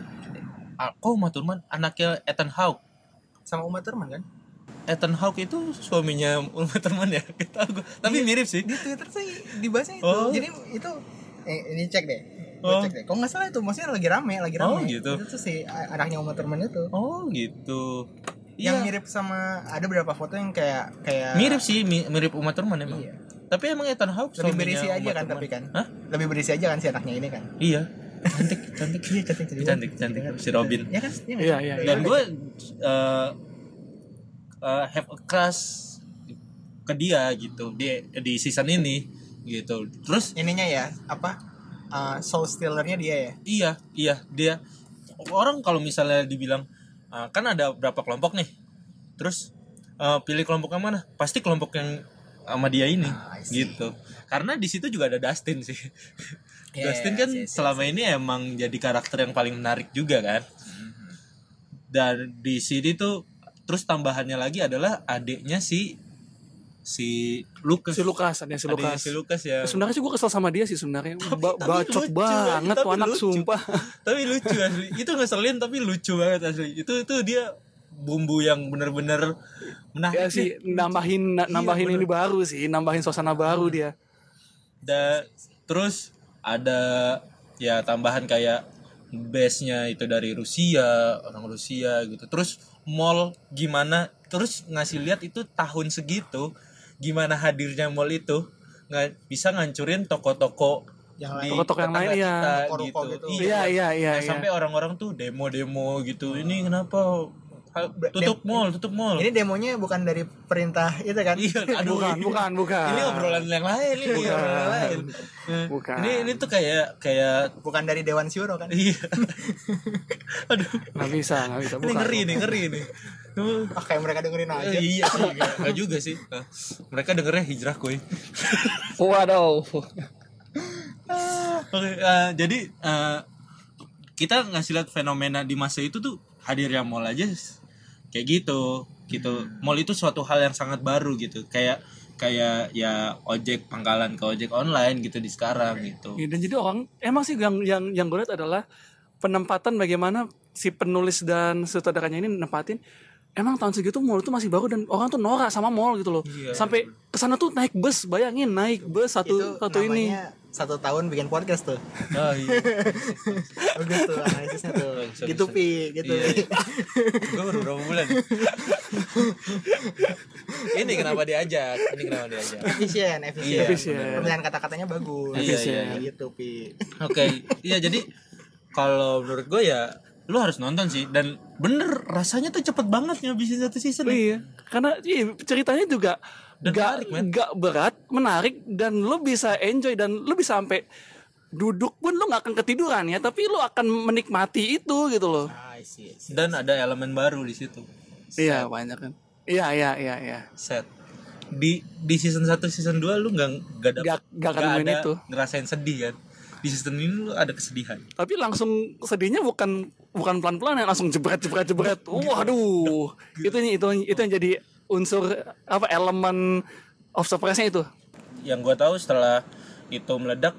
Speaker 1: aku Ah, Uma Thurman anaknya Ethan Hawke
Speaker 2: sama Uma Thurman kan
Speaker 1: Ethan Hawke itu suaminya Uma Thurman ya Gak tau gua.
Speaker 2: Iya.
Speaker 1: tapi mirip sih
Speaker 2: di Twitter sih dibahasnya itu
Speaker 1: Oh.
Speaker 2: jadi itu eh, ini cek deh Gua
Speaker 1: Oh.
Speaker 2: cek deh. Kok nggak salah itu maksudnya lagi rame, lagi
Speaker 1: Oh,
Speaker 2: rame.
Speaker 1: gitu.
Speaker 2: Itu tuh si a- anaknya Uma Thurman itu.
Speaker 1: oh gitu
Speaker 2: yang
Speaker 1: Iya.
Speaker 2: mirip sama ada berapa foto yang kayak kayak
Speaker 1: mirip sih mi- mirip Uma Thurman emang
Speaker 2: Iya.
Speaker 1: tapi emang Ethan Hawke
Speaker 2: lebih
Speaker 1: suaminya
Speaker 2: berisi aja
Speaker 1: Uma
Speaker 2: kan
Speaker 1: Thurman.
Speaker 2: tapi kan
Speaker 1: Hah?
Speaker 2: lebih berisi aja kan si anaknya ini kan
Speaker 1: iya cantik cantik
Speaker 2: iya cantik
Speaker 1: cantik cantik, cantik. si Robin
Speaker 2: ya kan nggak
Speaker 3: Iya,
Speaker 2: sih?
Speaker 3: iya,
Speaker 1: dan gue eh eh, have a crush ke dia gitu di di season ini gitu terus
Speaker 2: ininya ya apa uh, soul stealernya dia ya
Speaker 1: Iya, iya, dia orang kalau misalnya dibilang "Ah, kan ada berapa kelompok nih. Terus eh, pilih kelompok yang mana? Pasti kelompok yang sama dia ini
Speaker 2: Ah, I see.
Speaker 1: gitu. Karena di situ juga ada Dustin sih.
Speaker 2: Iya,
Speaker 1: Dustin
Speaker 2: iya,
Speaker 1: kan
Speaker 2: iya, iya,
Speaker 1: selama ini emang jadi karakter yang paling menarik juga kan. Dan di sini tuh terus tambahannya lagi adalah adiknya si si Lucas.
Speaker 3: si Lukas ada si
Speaker 1: Adiknya
Speaker 3: Lukas
Speaker 1: si Lucas ya.
Speaker 3: sebenarnya sih gue kesel sama dia sih sebenarnya Ba-
Speaker 1: tapi
Speaker 3: bacot
Speaker 1: lucu,
Speaker 3: banget
Speaker 1: tapi
Speaker 3: tuh anak
Speaker 1: lucu.
Speaker 3: sumpah
Speaker 1: tapi lucu asli itu ngeselin tapi lucu banget asli itu itu dia bumbu yang bener-bener menarik
Speaker 3: ya sih nambahin
Speaker 1: Iya,
Speaker 3: na- nambahin ini baru sih nambahin suasana baru dia
Speaker 1: Da- terus ada ya tambahan kayak base nya itu dari Rusia orang Rusia gitu terus mall gimana terus ngasih lihat itu tahun segitu gimana hadirnya mall itu nggak bisa ngancurin toko-toko
Speaker 2: Yang
Speaker 1: di
Speaker 2: lain.
Speaker 3: Toko-toko yang
Speaker 1: tetangga
Speaker 3: lain, ya.
Speaker 1: kita
Speaker 2: Ruko-ruko
Speaker 1: gitu.
Speaker 2: gitu.
Speaker 3: iya iya iya,
Speaker 1: Nah,
Speaker 3: iya.
Speaker 1: sampai orang-orang tuh demo-demo gitu ini kenapa Ha-
Speaker 2: Dem-
Speaker 1: tutup mall tutup mall
Speaker 2: ini demonya bukan dari perintah itu kan
Speaker 1: iya aduh
Speaker 3: bukan bukan bukan
Speaker 1: ini obrolan yang lain ini
Speaker 3: Bukan.
Speaker 1: obrolan yang lain Eh,
Speaker 3: Bukan.
Speaker 1: ini ini tuh kayak kayak
Speaker 2: bukan dari dewan syuro kan
Speaker 1: iya aduh
Speaker 3: nggak bisa nggak bisa
Speaker 1: ini
Speaker 3: bukan Nah,
Speaker 1: ngeri nih ngeri nih Tuh,
Speaker 2: ah, kayak mereka dengerin aja
Speaker 1: eh, iya sih nggak nggak juga sih Nah, mereka dengernya hijrah kuy
Speaker 3: waduh
Speaker 1: Oke, eh, jadi eh, kita ngasih lihat fenomena di masa itu tuh hadirnya mall aja s- kayak gitu, gitu. Mall itu suatu hal yang sangat baru gitu, kayak kayak ya ojek pangkalan ke ojek online gitu di sekarang gitu.
Speaker 3: Iya, dan jadi orang emang sih yang yang yang gue lihat adalah penempatan bagaimana si penulis dan sutradaranya ini nempatin emang tahun segitu mall itu masih baru dan orang tuh norak sama mall gitu loh
Speaker 1: Iya.
Speaker 3: sampai kesana tuh naik bus bayangin naik bus satu
Speaker 2: itu
Speaker 3: satu ini
Speaker 2: namanya satu tahun bikin podcast tuh
Speaker 1: Oh, iya.
Speaker 2: bagus tuh analisisnya tuh
Speaker 1: Bagus,
Speaker 2: gitu
Speaker 1: bagus.
Speaker 2: pi gitu
Speaker 1: Iya, iya. Gue baru berapa bulan. ya? ini kenapa diajak? Ini kenapa diajak?
Speaker 2: efisien efisien
Speaker 1: Iya,
Speaker 3: Efisien.
Speaker 2: pemilihan kata-katanya bagus
Speaker 1: Iya,
Speaker 3: iya,
Speaker 2: Kayak gitu pi
Speaker 1: Oke, iya jadi kalau menurut gue ya lu harus nonton sih dan bener rasanya tuh cepet banget ngabisin satu season. ya.
Speaker 3: iya karena iya, ceritanya juga
Speaker 1: Dan menarik,
Speaker 3: gak,
Speaker 1: men.
Speaker 3: gak berat menarik dan lo bisa enjoy dan lo bisa sampai duduk pun lo nggak akan ketiduran ya tapi lo akan menikmati itu gitu loh
Speaker 2: ah I see, I see.
Speaker 1: Dan ada elemen baru di situ.
Speaker 3: iya banyak kan iya iya iya iya
Speaker 1: Set. di di season 1 season 2 lu nggak nggak dapet-
Speaker 3: Nggak- nggak akan nemuin
Speaker 1: ada
Speaker 3: itu.
Speaker 1: ngerasain sedih kan di season ini lu ada kesedihan
Speaker 3: tapi langsung sedihnya bukan bukan pelan-pelan ya langsung jebret jebret jebret
Speaker 1: Iya.
Speaker 3: waduh itu itu itu yang jadi unsur apa elemen of surprise-nya itu
Speaker 1: yang gue tahu setelah itu meledak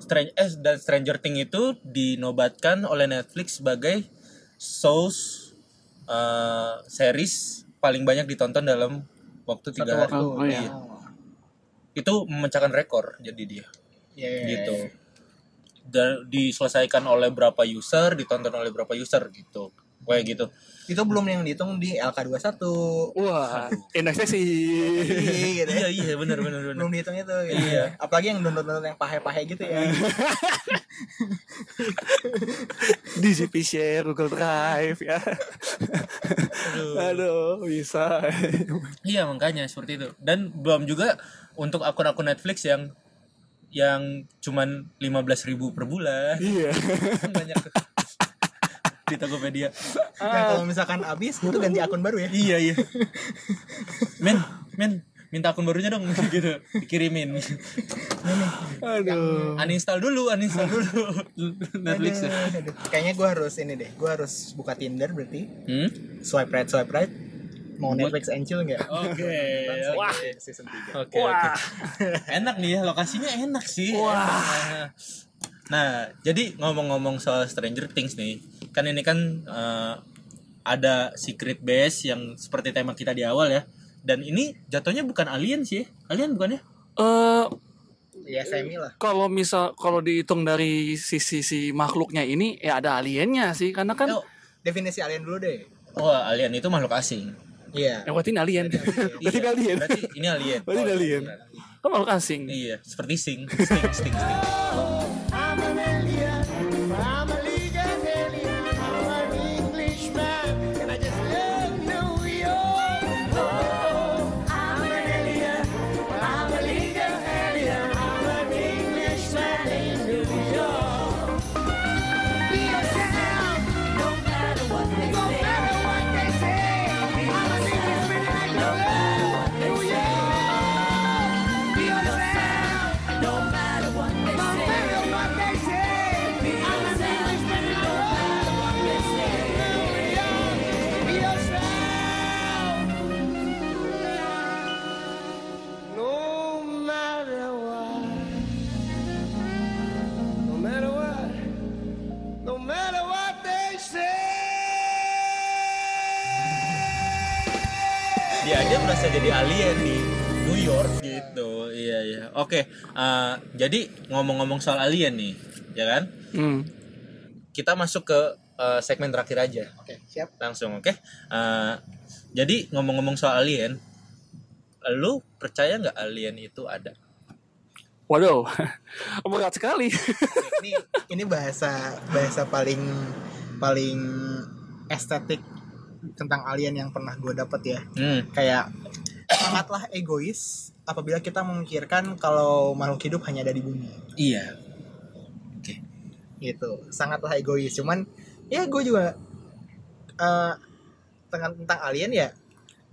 Speaker 1: Strange eh, dan Stranger Thing itu dinobatkan oleh Netflix sebagai shows eh, series paling banyak ditonton dalam waktu tiga hari
Speaker 3: waktu, oh iya.
Speaker 1: Iya. itu memecahkan rekor jadi dia
Speaker 2: Iya, iya,
Speaker 1: gitu dan diselesaikan oleh berapa user ditonton oleh berapa user gitu kayak gitu
Speaker 2: Itu belum yang dihitung di LK21.
Speaker 3: wah indeksnya sih
Speaker 2: Iya, gitu
Speaker 1: iya
Speaker 2: ya.
Speaker 1: iya benar benar benar
Speaker 2: Belum dihitung itu. gitu. Apalagi yang download-download yang pahe-pahe gitu ya.
Speaker 3: di GP Share Google Drive ya aduh bisa
Speaker 1: Iya makanya seperti itu dan belum juga untuk akun-akun Netflix yang yang cuman 15.000 ribu per bulan
Speaker 3: iya
Speaker 1: banyak di Tokopedia
Speaker 2: Yang Nah, kalau misalkan habis itu ganti akun baru ya.
Speaker 1: iya iya men men minta akun barunya dong gitu dikirimin
Speaker 3: aduh
Speaker 1: uninstall dulu uninstall dulu Netflix ya
Speaker 2: Aduh, aduh. Kayaknya gue harus ini deh. Gue harus buka Tinder berarti.
Speaker 1: hmm?
Speaker 2: Swipe right, swipe right. Mau
Speaker 1: Buat-
Speaker 2: Netflix and chill nggak?
Speaker 1: oke
Speaker 2: Wah.
Speaker 1: wah
Speaker 2: Season 3.
Speaker 1: oke oke enak nih ya lokasinya enak sih wah nah jadi ngomong-ngomong soal Stranger Things nih kan ini kan eh, ada secret base yang seperti tema kita di awal ya dan ini jatuhnya bukan alien sih alien bukan ya
Speaker 3: eh
Speaker 2: Iya, semi lah.
Speaker 3: kalau misal kalau dihitung dari sisi si makhluknya ini ya ada aliennya sih karena kan
Speaker 1: Oh.
Speaker 2: Definisi alien dulu deh.
Speaker 1: oh alien itu makhluk asing
Speaker 2: Iya.
Speaker 3: ya berarti ini alien berarti ini
Speaker 1: Iya,
Speaker 3: alien
Speaker 1: berarti ini alien Oh,
Speaker 3: berarti ini alien kan makhluk asing
Speaker 1: iya seperti sing sing sing, sing.
Speaker 5: Be yourself, no matter what they say. No matter what they say. I'm an Englishman and I know what they say. Be yourself, no matter what they say. No matter what they say. I'm an Englishman and I know what they say. Be yourself.
Speaker 4: No matter what. No matter what. No matter what they say.
Speaker 1: dia aja merasa jadi alien di New York gitu iya iya oke eh, jadi ngomong-ngomong soal alien nih ya kan
Speaker 3: Hmm.
Speaker 1: kita masuk ke eh, segmen terakhir aja
Speaker 2: Oke, siap.
Speaker 1: langsung oke Eh, jadi ngomong-ngomong soal alien lu percaya nggak alien itu ada
Speaker 3: Waduh, berat sekali.
Speaker 2: ini ini bahasa bahasa paling paling estetik tentang alien yang pernah gue dapet ya
Speaker 1: hmm.
Speaker 2: kayak sangatlah egois apabila kita memikirkan kalau makhluk hidup hanya ada di bumi
Speaker 1: iya
Speaker 2: gitu sangatlah egois cuman ya gue juga eh tentang tentang alien ya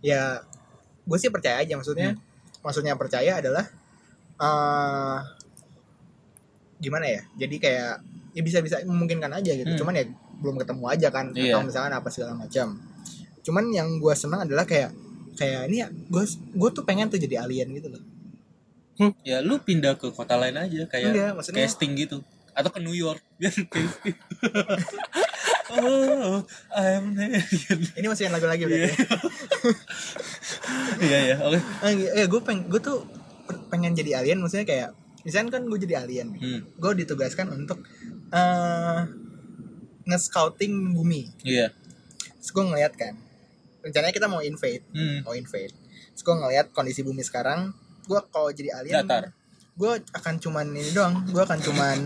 Speaker 2: ya gue sih percaya aja
Speaker 1: Hmm.
Speaker 2: maksudnya maksudnya percaya adalah eh gimana ya jadi kayak ya bisa bisa memungkinkan aja
Speaker 1: Hmm.
Speaker 2: gitu cuman ya belum ketemu aja kan
Speaker 1: Iya.
Speaker 2: atau misalkan apa segala macam cuman yang gue senang adalah kayak kayak ini ya gue gue tuh pengen tuh jadi alien gitu loh
Speaker 1: ya lu pindah ke kota lain aja kayak
Speaker 2: Enggak, maksudnya-
Speaker 1: casting gitu atau ke New York biar casting oh I'm an alien
Speaker 2: ini masukin lagu-lagu berarti ya?
Speaker 1: iya iya oke
Speaker 2: Eh, gue peng, gue tuh per- pengen jadi alien, maksudnya kayak, misalnya kan gue jadi alien, nih.
Speaker 1: Hmm,
Speaker 2: gue ditugaskan untuk eh nge-scouting bumi.
Speaker 1: iya
Speaker 2: Terus gue ngeliat kan, rencananya kita mau invade,
Speaker 1: Hmm,
Speaker 2: mau invade. Terus gue ngeliat kondisi bumi sekarang, gue kalau jadi alien,
Speaker 1: datar
Speaker 2: gue akan cuman ini doang, gue akan cuman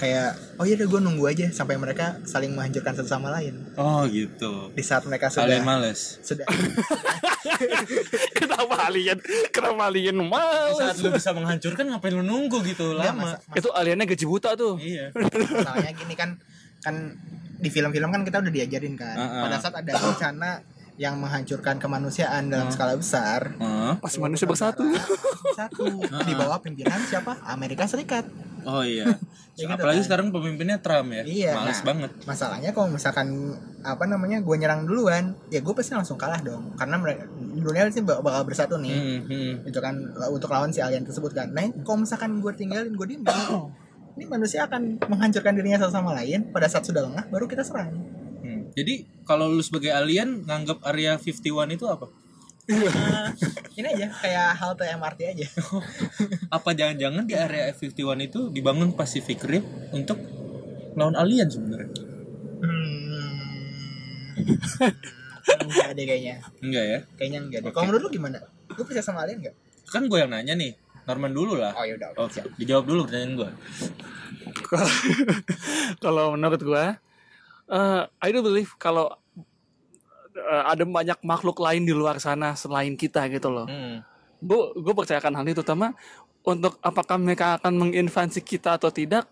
Speaker 2: kayak, oh iya gue nunggu aja sampai mereka saling menghancurkan satu sama lain.
Speaker 1: oh gitu
Speaker 2: Di saat mereka sudah
Speaker 1: alien males
Speaker 2: sudah
Speaker 3: kenapa alien? Kenapa alien
Speaker 1: Di saat
Speaker 3: males?
Speaker 1: lu bisa menghancurkan ngapain lu nunggu gitu
Speaker 2: Enggak,
Speaker 1: lama
Speaker 2: Iya, masa-
Speaker 3: Itu aliennya gaji buta tuh.
Speaker 1: iya
Speaker 2: masalahnya gini kan kan di film-film kan kita udah diajarin kan
Speaker 1: Ah, ah.
Speaker 2: pada saat ada bencana yang menghancurkan
Speaker 1: Ah.
Speaker 2: kemanusiaan dalam skala besar
Speaker 1: Heeh.
Speaker 3: Pas manusia bersatu.
Speaker 2: satu
Speaker 1: Ah,
Speaker 2: di bawah pimpinan siapa Amerika Serikat
Speaker 1: Oh iya.
Speaker 2: Ya gitu
Speaker 1: Apalagi
Speaker 2: kan.
Speaker 1: sekarang pemimpinnya Trump ya.
Speaker 2: Iya,
Speaker 1: Males
Speaker 2: nah.
Speaker 1: banget.
Speaker 2: masalahnya kalau misalkan apa namanya gue nyerang duluan ya gue pasti langsung kalah dong karena mereka dunia sih bak- bakal bersatu nih
Speaker 1: Hmm, hmm.
Speaker 2: itu kan la- untuk lawan si alien tersebut kan nah kalau misalkan gue tinggalin gue diem ini manusia akan menghancurkan dirinya satu sama lain pada saat sudah lengah baru kita serang
Speaker 1: Hmm. Jadi kalau lu sebagai alien nganggap area 51 itu apa?
Speaker 2: Eh, ini aja kayak halte MRT aja
Speaker 1: Apa jangan-jangan di area 51 itu dibangun Pacific Rim untuk lawan alien sebenarnya?
Speaker 2: hmm, enggak deh kayaknya
Speaker 1: Enggak ya?
Speaker 2: kayaknya enggak deh kalau menurut lu gimana lu percaya sama alien nggak
Speaker 1: Kan gue yang nanya nih. Norman dulu lah.
Speaker 2: oh yaudah oke
Speaker 1: Oke, dijawab dulu pertanyaan gue.
Speaker 3: Kalau- kalau menurut gua eh I do believe kalau eh, ada banyak makhluk lain di luar sana selain kita gitu loh
Speaker 1: Hmm.
Speaker 3: gue gue percayakan hal itu terutama untuk apakah mereka akan menginvasi kita atau tidak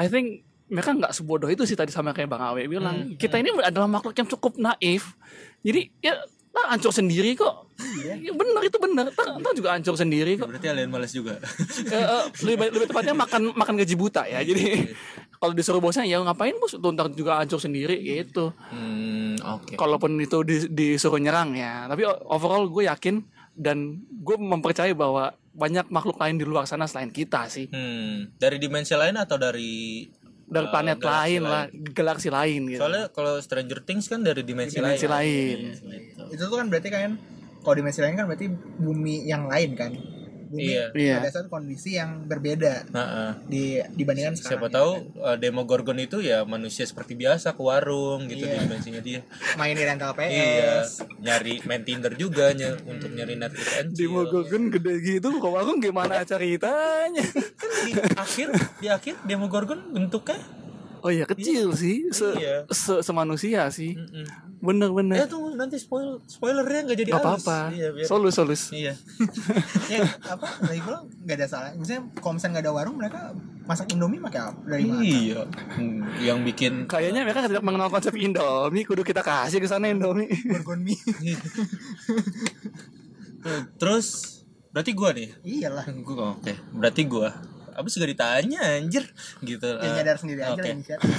Speaker 3: I think mereka nggak sebodoh itu sih tadi sama kayak bang Awe bilang kita ini adalah makhluk yang cukup naif jadi ya ntar hancur sendiri kok Ya, bener itu bener ntar, ntar juga hancur sendiri kok
Speaker 1: Berarti alien males juga.
Speaker 3: Eh, eh, lebih, baik- lebih tepatnya makan makan gaji buta ya jadi kalau disuruh bosnya ya ngapain bos Tuh, ntar juga hancur sendiri gitu
Speaker 1: Hmm, oke.
Speaker 3: kalaupun itu di- disuruh nyerang ya tapi o- overall gue yakin dan gue mempercayai bahwa banyak makhluk lain di luar sana selain kita sih
Speaker 1: Hmm, dari dimensi lain atau dari
Speaker 3: dari
Speaker 1: Eh,
Speaker 3: planet
Speaker 1: galaksi
Speaker 3: lain
Speaker 1: lain.
Speaker 3: lah galaksi lain gitu
Speaker 1: Soalnya kalau Stranger Things kan dari dimensi,
Speaker 3: dimensi
Speaker 1: lain.
Speaker 3: lain
Speaker 1: Gitu.
Speaker 2: itu tuh kan berarti kan kalau dimensi lain kan berarti bumi yang lain kan bumi
Speaker 1: Iya.
Speaker 3: Iya.
Speaker 2: pada saat kondisi yang berbeda
Speaker 1: Heeh.
Speaker 2: di dibandingkan
Speaker 1: Siapa
Speaker 2: sekarang ya
Speaker 1: tahu
Speaker 2: kan.
Speaker 1: eh, Demogorgon itu ya manusia seperti biasa ke warung gitu
Speaker 2: Iya.
Speaker 1: di dimensinya dia.
Speaker 2: main di rental PS
Speaker 1: Iya, nyari main Tinder juga ny- untuk
Speaker 3: Hmm.
Speaker 1: nyari Netflix and
Speaker 3: di
Speaker 1: chill.
Speaker 3: Mogogun gede gitu kok warung gimana ceritanya
Speaker 1: Kan di akhir di akhir Demogorgon bentuknya
Speaker 3: oh iya kecil sih se,
Speaker 1: Iya. Hmm.
Speaker 3: se- semanusia sih
Speaker 1: Mm-mm.
Speaker 3: bener
Speaker 1: Eh
Speaker 3: bener
Speaker 1: tunggu nanti spoil spoilernya nggak jadi
Speaker 3: Nah. nggak
Speaker 1: halus.
Speaker 3: apa-apa
Speaker 1: Iya, biar-
Speaker 3: solus solus
Speaker 1: Iya.
Speaker 2: ya apa dari gue nggak ada salah misalnya kalau misalnya nggak ada warung mereka masak indomie pakai apa dari mana
Speaker 1: Iya. Hmm, Yang bikin
Speaker 3: kayaknya mereka tidak mengenal konsep Indomie kudu kita kasih ke sana Indomie
Speaker 2: Gorgon mie
Speaker 1: terus berarti gua nih.
Speaker 2: iyalah
Speaker 1: Gua oke. Berarti gua Abis gak ditanya anjir gitu.
Speaker 2: dia Ya, nyadar sendiri aja
Speaker 1: Oke.
Speaker 2: lah inisiatif.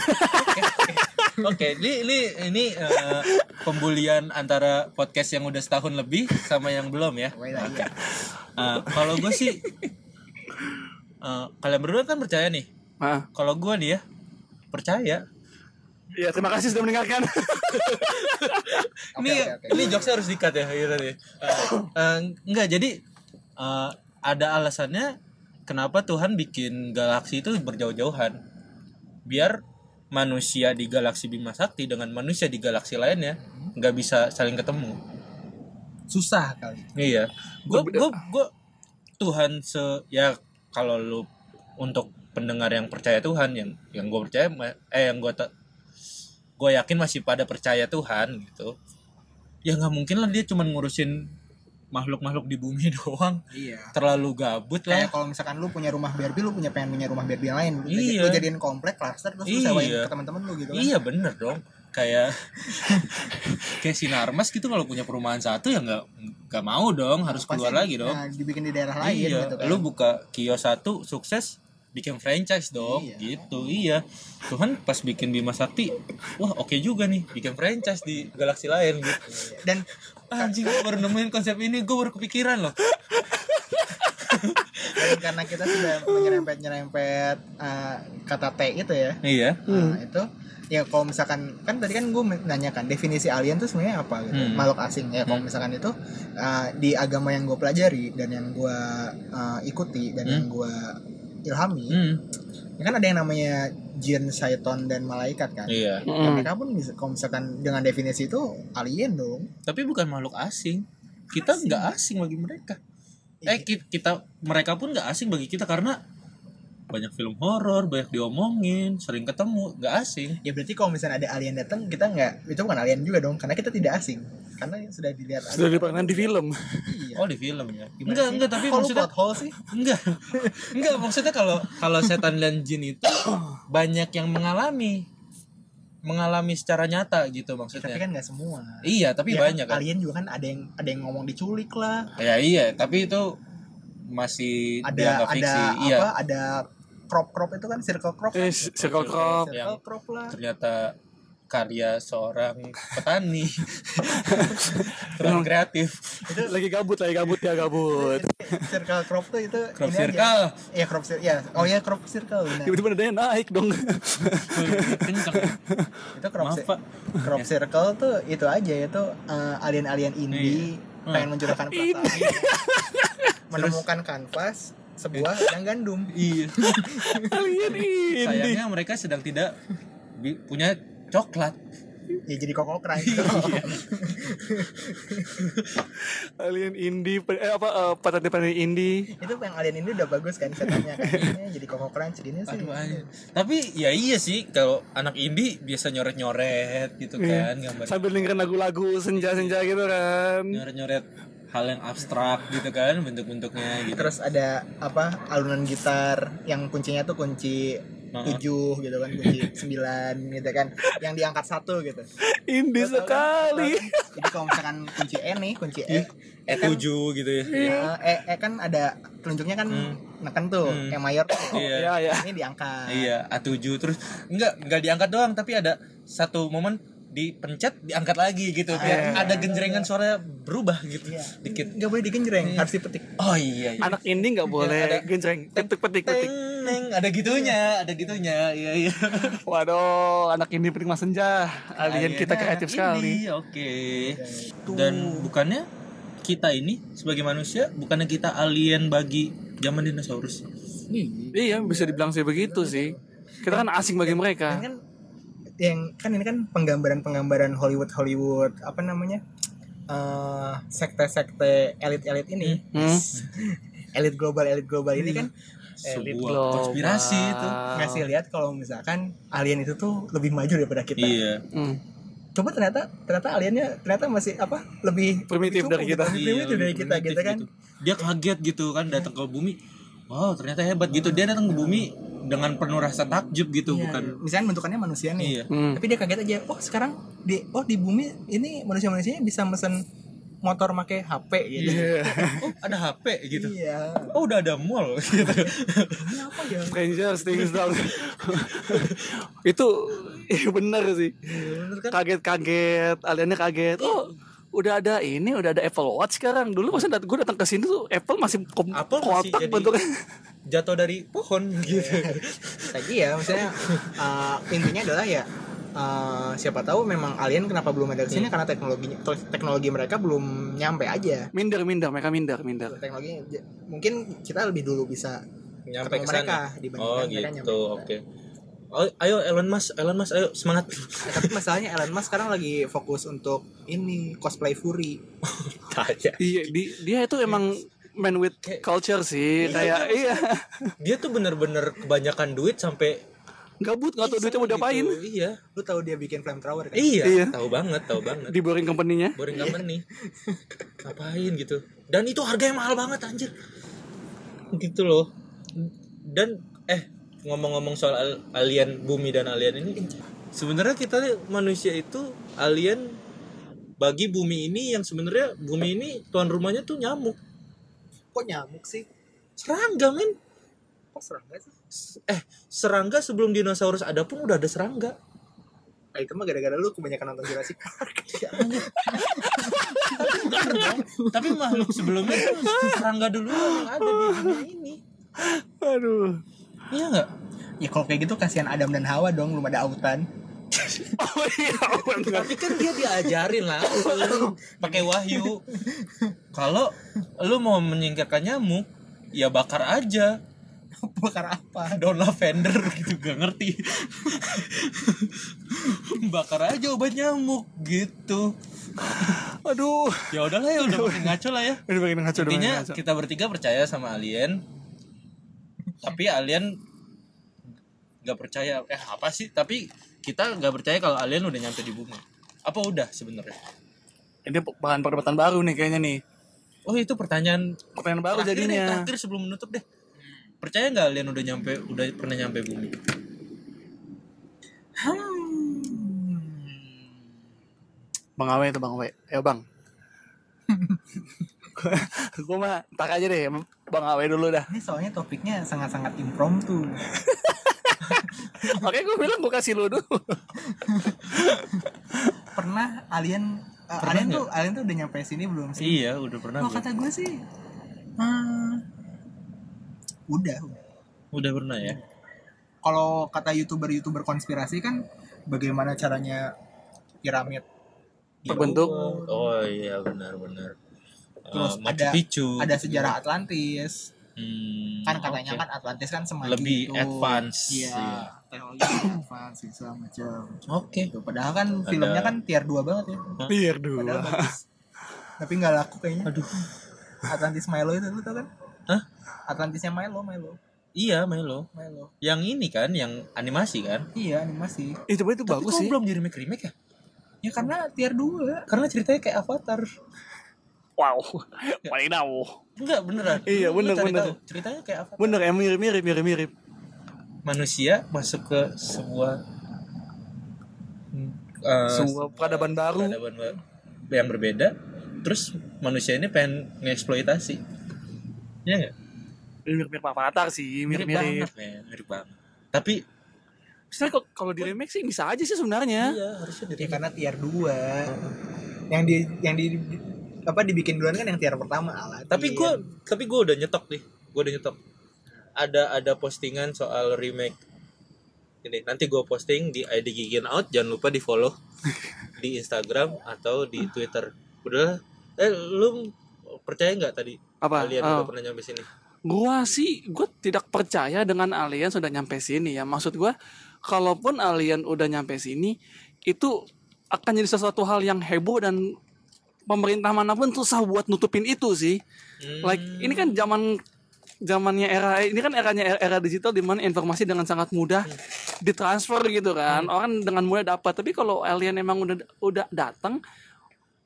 Speaker 1: Oke, ini ini ini eh, pembulian antara podcast yang udah setahun lebih sama yang belum ya.
Speaker 2: Wah, iya.
Speaker 1: Eh, kalau gue sih eh, kalian berdua kan percaya nih.
Speaker 3: ah
Speaker 1: Kalau gue nih ya percaya.
Speaker 3: ya terima kasih sudah mendengarkan
Speaker 2: Oke,
Speaker 1: ini
Speaker 2: oke, oke.
Speaker 1: ini jokesnya harus dikat ya gitu tadi. Eh, eh, enggak jadi eh, ada alasannya kenapa Tuhan bikin galaksi itu berjauh-jauhan biar manusia di galaksi Bima Sakti dengan manusia di galaksi lainnya
Speaker 2: Mm-hmm.
Speaker 1: nggak bisa saling ketemu.
Speaker 2: susah kali
Speaker 1: Iya. Gue gue gue Tuhan se ya kalau lu untuk pendengar yang percaya Tuhan yang yang gue percaya ma- eh yang gue gue yakin masih pada percaya Tuhan gitu. Ya nggak mungkin lah dia cuma ngurusin makhluk-makhluk di bumi doang.
Speaker 2: iya
Speaker 1: Terlalu gabut lah.
Speaker 2: kayak kalau misalkan lu punya rumah Barbie lu punya pengen punya rumah Barbie yang lain lu,
Speaker 1: Iya.
Speaker 2: lu jadiin komplek klaster terus lu
Speaker 1: Iya.
Speaker 2: sewain ke teman-teman lu gitu kan
Speaker 1: Iya bener dong. Kayak kayak sinarmas gitu kalau punya perumahan satu ya nggak nggak mau dong harus
Speaker 2: Pasti,
Speaker 1: keluar lagi dong.
Speaker 2: nah, dibikin di daerah lain
Speaker 1: iya,
Speaker 2: gitu kan
Speaker 1: lu buka kios satu sukses bikin franchise dong
Speaker 2: Iya.
Speaker 1: gitu iya Tuhan pas bikin Bima Sakti wah oke juga nih bikin franchise di galaksi lain gitu
Speaker 2: dan
Speaker 1: anjing gue baru nemuin konsep ini gue baru kepikiran loh
Speaker 2: dan karena kita sudah menyerempet nyerempet eh, kata T itu ya
Speaker 1: iya
Speaker 2: Nah, itu ya kalau misalkan kan tadi kan gue menanyakan definisi alien tuh sebenarnya apa gitu
Speaker 1: Hmm.
Speaker 2: makhluk asing ya kalau
Speaker 1: Hmm.
Speaker 2: misalkan itu uh, di agama yang gue pelajari dan yang gue uh, ikuti dan
Speaker 1: Hmm.
Speaker 2: yang gue ilhami
Speaker 1: Hmm,
Speaker 2: ya kan ada yang namanya jin, syaiton dan malaikat kan
Speaker 1: iya
Speaker 3: Hmm.
Speaker 2: Dan mereka pun bisa, kalau misalkan dengan definisi itu alien dong
Speaker 1: iya. tapi bukan makhluk asing kita nggak asing bagi mereka eh ki- kita mereka pun nggak asing bagi kita karena banyak film horor banyak diomongin sering ketemu nggak asing
Speaker 2: ya berarti kalau misalkan ada alien datang kita nggak itu bukan alien juga dong karena kita tidak asing karena sudah dilihat
Speaker 3: sudah dipanggil di film
Speaker 2: iya.
Speaker 1: oh di film ya enggak enggak tapi
Speaker 2: Kok lu
Speaker 1: maksudnya Iya.
Speaker 2: plot hole sih
Speaker 1: Enggak. Enggak maksudnya kalau kalau setan dan jin itu banyak yang mengalami mengalami secara nyata gitu maksudnya.
Speaker 2: tapi kan nggak semua
Speaker 1: iya, tapi
Speaker 2: Ya,
Speaker 1: banyak kan.
Speaker 2: alien juga kan ada yang ada yang ngomong diculik lah
Speaker 1: Ya iya, tapi itu masih
Speaker 2: ada
Speaker 1: dianggap
Speaker 2: ada
Speaker 1: fiksi.
Speaker 2: apa
Speaker 1: Iya,
Speaker 2: ada crop crop itu kan circle crop
Speaker 3: Eh, circle
Speaker 2: circle
Speaker 3: crop.
Speaker 1: Yang-
Speaker 2: crop lah
Speaker 1: ternyata karya seorang petani. Terlalu kreatif.
Speaker 2: itu
Speaker 3: Lagi gabut, lagi gabut ya gabut.
Speaker 2: circle crop tuh itu
Speaker 1: Crop
Speaker 2: aja.
Speaker 1: circle.
Speaker 2: iya crop circle ya oh iya crop circle benar.
Speaker 3: Tiba-tiba nadanya naik dong.
Speaker 1: Kenceng.
Speaker 2: itu crop,
Speaker 1: Maaf,
Speaker 2: cir-
Speaker 1: Pak.
Speaker 2: crop circle tuh itu aja itu eh, alien-alien indie
Speaker 1: Iya.
Speaker 2: pengen mencurahkan perasaan menemukan kanvas sebuah yang gandum
Speaker 1: iya.
Speaker 3: Alien ini.
Speaker 1: Sayangnya mereka sedang tidak bi- punya coklat.
Speaker 2: ya jadi kokok keren
Speaker 1: Iya.
Speaker 3: Alien indie pe- eh apa eh, petani-petani indie.
Speaker 2: itu yang alien ini udah bagus kan katanya kan Ini jadi kokok keren jadinya sih
Speaker 3: Hmm.
Speaker 1: Aduh, anjing. Tapi ya iya sih kalau anak indie biasa nyoret-nyoret gitu
Speaker 3: Iya.
Speaker 1: kan gambar
Speaker 3: Sambil dengerin lagu-lagu senja-senja gitu kan.
Speaker 1: nyoret-nyoret hal yang abstrak gitu kan bentuk-bentuknya gitu.
Speaker 2: terus ada apa alunan gitar yang kuncinya tuh kunci
Speaker 1: Nah.
Speaker 3: Iya.
Speaker 2: tujuh gitu kan kunci sembilan gitu kan yang diangkat satu gitu
Speaker 3: Indie
Speaker 2: Lo tau kan?
Speaker 3: sekali.
Speaker 2: jadi kalau misalkan kunci E nih kunci
Speaker 1: Iya.
Speaker 2: E
Speaker 3: Iya.
Speaker 1: E7 gitu ya.
Speaker 2: Nah, eh, eh kan ada telunjuknya kan neken tuh,
Speaker 1: Hmm.
Speaker 2: yang mayor tuh.
Speaker 1: Iya.
Speaker 3: Ya ya.
Speaker 2: Ini diangkat.
Speaker 1: Iya, A7 terus enggak enggak diangkat doang tapi ada satu momen dipencet diangkat lagi gitu
Speaker 3: Ah, iya.
Speaker 1: biar ada genjrengan suara berubah gitu
Speaker 2: Iya.
Speaker 1: dikit.
Speaker 2: Nggak boleh digenjreng, harus dipetik.
Speaker 1: Oh iya iya.
Speaker 3: Anak indie nggak
Speaker 1: ada-
Speaker 3: boleh genjreng. Petik-petik-petik.
Speaker 1: Teng, neng, ada gitunya, ada gitunya. Iya iya.
Speaker 3: Waduh, anak indie penikmat senja. Alien kita
Speaker 1: Akhirnya
Speaker 3: kreatif
Speaker 1: anak
Speaker 3: sekali.
Speaker 1: indie, Oke. Dan bukannya kita ini sebagai manusia bukannya kita alien bagi zaman dinosaurus.
Speaker 3: Iya, bisa dibilang sih begitu sih. Kita kan asing bagi
Speaker 2: Dan
Speaker 3: mereka.
Speaker 2: kan yang kan ini kan penggambaran-penggambaran Hollywood Hollywood apa namanya? eh sekte-sekte elit-elit ini.
Speaker 3: Hmm?
Speaker 2: Elit global, elit global
Speaker 1: Iya.
Speaker 2: ini kan elit
Speaker 1: Sebuah konspirasi itu.
Speaker 2: ngasih lihat kalau misalkan alien itu tuh lebih maju daripada kita.
Speaker 1: Iya.
Speaker 3: Hmm.
Speaker 2: Coba ternyata ternyata aliennya ternyata masih apa? Lebih
Speaker 3: Primitif
Speaker 2: lebih
Speaker 3: dari
Speaker 2: cupu
Speaker 3: kita.
Speaker 2: gitu, lebih
Speaker 1: Iya,
Speaker 2: primitif dari
Speaker 1: lebih
Speaker 2: kita
Speaker 1: primitif
Speaker 2: gitu kan.
Speaker 1: gitu. Dia kaget gitu kan datang ke bumi. Wow, ternyata hebat gitu. Dia datang ke bumi dengan penuh rasa takjub gitu,
Speaker 2: Iya,
Speaker 1: bukan.
Speaker 2: misalnya bentukannya manusia nih.
Speaker 1: Iya.
Speaker 3: Hmm.
Speaker 2: tapi dia kaget aja oh sekarang di oh di bumi ini manusia manusianya bisa mesen motor make HP gitu
Speaker 3: Iya.
Speaker 1: Oh, ada HP gitu.
Speaker 2: iya
Speaker 1: Oh, udah ada mall gitu.
Speaker 2: ini apa ya
Speaker 3: Strangers things dong. itu iya bener sih.
Speaker 2: bener kan
Speaker 3: Kaget-kaget, aliennya kaget. Oh, udah ada ini, udah ada Apple Watch sekarang. Dulu pas dat- gue datang ke sini tuh Apple masih kom-
Speaker 1: Apple masih
Speaker 3: kotak
Speaker 1: jadi-
Speaker 3: bentuknya.
Speaker 1: Jatuh dari pohon gitu.
Speaker 2: lagi ya maksudnya eh, intinya adalah ya eh, siapa tahu memang alien kenapa belum ada
Speaker 1: Hmm.
Speaker 2: kesini karena teknologinya teknologi mereka belum nyampe aja
Speaker 3: Minder, minder, mereka minder, minder.
Speaker 2: teknologi j- mungkin kita lebih dulu bisa
Speaker 1: Nyampe ke
Speaker 2: ketemu
Speaker 1: sana.
Speaker 2: mereka dibandingkan
Speaker 1: Oh,
Speaker 2: mereka nyampe
Speaker 1: gitu.
Speaker 2: ke kita.
Speaker 1: Oke. Oh, ayo Elon Musk, Elon Musk ayo semangat.
Speaker 2: Nah, tapi masalahnya Elon Musk sekarang lagi fokus untuk ini cosplay Fury
Speaker 1: Tanya.
Speaker 3: Iya, di- dia itu emang man with culture sih, kayak iya.
Speaker 1: Dia tuh bener-bener kebanyakan duit sampai
Speaker 3: Gabut nggak tahu duitnya mau diapain.
Speaker 1: Gitu, Iya.
Speaker 2: lu tahu dia bikin flamethrower kan
Speaker 1: Iya,
Speaker 3: Iya.
Speaker 1: tahu banget, tahu banget.
Speaker 3: Di boring company-nya.
Speaker 1: Boring company. Ngapain gitu. Dan itu harganya mahal banget anjir. Gitu loh. Dan eh ngomong-ngomong soal al- alien bumi dan alien ini sebenarnya kita nih, manusia itu alien bagi bumi ini yang sebenarnya bumi ini tuan rumahnya tuh nyamuk
Speaker 2: kok nyamuk sih
Speaker 1: serangga men
Speaker 2: kok serangga sih
Speaker 1: eh serangga sebelum dinosaurus ada pun udah ada serangga
Speaker 2: Ah, itu mah gara-gara lu kebanyakan nonton Jurassic Park. Iya.
Speaker 1: tapi makhluk sebelumnya tuh serangga dulu yang ada di dunia ini
Speaker 3: Aduh.
Speaker 1: iya nggak
Speaker 2: ya kalau kayak gitu kasihan Adam dan Hawa dong belum ada autan.
Speaker 3: Oh iya, bener.
Speaker 1: tapi kan dia diajarin lah pakai wahyu kalau lu mau menyingkirkan nyamuk ya bakar aja
Speaker 2: Bakar apa?
Speaker 1: daun lavender gitu gak ngerti bakar aja obat nyamuk gitu
Speaker 3: Aduh.
Speaker 1: ya udahlah ya udah makin ngaco lah ya
Speaker 3: Ini makin ngaco udah makin
Speaker 1: intinya
Speaker 3: ngaco.
Speaker 1: kita bertiga percaya sama alien tapi alien nggak percaya eh apa sih tapi kita nggak percaya kalau alien udah nyampe di bumi apa udah sebenarnya
Speaker 3: Ini bahan perdebatan baru nih kayaknya nih.
Speaker 1: oh itu pertanyaan
Speaker 3: Pertanyaan baru
Speaker 1: terakhir deh,
Speaker 3: jadinya.
Speaker 1: terakhir sebelum menutup deh percaya nggak alien udah nyampe udah pernah nyampe bumi
Speaker 2: Hmm.
Speaker 3: Bang Awe itu Bang Awe. Ayo Bang. gue mah tak aja deh Bang Awe dulu dah.
Speaker 2: Ini soalnya topiknya sangat-sangat impromptu.
Speaker 3: Makanya gue bilang gue kasih lu dulu.
Speaker 2: Pernah alien eh, alien tuh alien tuh udah nyampe sini belum sih?
Speaker 1: Iya, udah pernah.
Speaker 2: Kalau
Speaker 1: gua.
Speaker 2: kata gue sih hmm, udah. udah.
Speaker 1: Udah pernah ya.
Speaker 2: Kalau kata YouTuber-YouTuber konspirasi kan bagaimana caranya piramid
Speaker 3: Terbentuk.
Speaker 1: Iya. Oh iya benar-benar. Eh,
Speaker 2: Terus
Speaker 1: Machu
Speaker 2: ada-
Speaker 1: Picchu.
Speaker 2: ada
Speaker 1: gitu.
Speaker 2: sejarah Atlantis.
Speaker 1: Hmm,
Speaker 2: Kan katanya
Speaker 1: oke.
Speaker 2: kan Atlantis kan semacam
Speaker 1: Lebih advance,
Speaker 2: Iya,
Speaker 1: iya.
Speaker 2: teknologi advance segala macam.
Speaker 1: Oke.
Speaker 2: Gitu. Padahal kan
Speaker 1: Ada-
Speaker 2: filmnya kan tier 2 banget ya.
Speaker 3: Biar
Speaker 2: Padahal
Speaker 3: dua.
Speaker 2: bagus. Tapi nggak laku kayaknya. Aduh. Atlantis Milo itu lu tau kan?
Speaker 1: Hah?
Speaker 2: Atlantisnya Milo, Milo,
Speaker 1: Iya, Melo.
Speaker 2: Milo.
Speaker 1: Yang ini kan yang animasi kan?
Speaker 2: Iya, animasi.
Speaker 3: Eh coba itu
Speaker 1: Tapi
Speaker 3: bagus
Speaker 1: kok
Speaker 3: sih.
Speaker 1: belum di remake-remake ya?
Speaker 2: Ya karena tier 2.
Speaker 1: Karena ceritanya kayak Avatar.
Speaker 3: Wow. Paling wow.
Speaker 1: Enggak, beneran.
Speaker 3: Iya,
Speaker 1: Lu
Speaker 3: bener,
Speaker 1: cari
Speaker 3: bener.
Speaker 1: tahu, Ceritanya kayak Avatar.
Speaker 3: Bener ya mirip mirip mirip mirip.
Speaker 1: Manusia masuk ke sebuah hmm, eh,
Speaker 3: Sebuah peradaban baru.
Speaker 1: peradaban ba- yang berbeda. Terus manusia ini pengen ngeeksploitasi. Iya enggak?
Speaker 3: Mirip mirip Avatar sih. Mirip mirip.
Speaker 1: banget, men. Iya, Mirip banget. Tapi
Speaker 3: Sebenarnya kok- kalau di remake sih bisa aja sih sebenarnya.
Speaker 1: iya, harusnya dari
Speaker 2: Ya karena tier 2. Yang di yang di apa dibikin duluan kan yang tier pertama lah. Iya.
Speaker 1: tapi
Speaker 3: Iya.
Speaker 1: gue tapi gue udah nyetok nih gue udah nyetok ada ada postingan soal remake ini nanti gue posting di ID Gigin Out jangan lupa di follow di Instagram atau di Twitter udah eh lu percaya nggak tadi
Speaker 3: Apa?
Speaker 1: kalian
Speaker 3: Oh.
Speaker 1: udah pernah nyampe sini
Speaker 3: Gua sih, gua tidak percaya dengan alien sudah nyampe sini ya. Maksud gua, kalaupun alien udah nyampe sini, itu akan jadi sesuatu hal yang heboh dan pemerintah manapun susah buat nutupin itu sih. Like ini kan zaman zamannya era ini kan eranya era digital di mana informasi dengan sangat mudah ditransfer gitu kan. Orang dengan mudah dapat. Tapi kalau alien emang udah udah datang,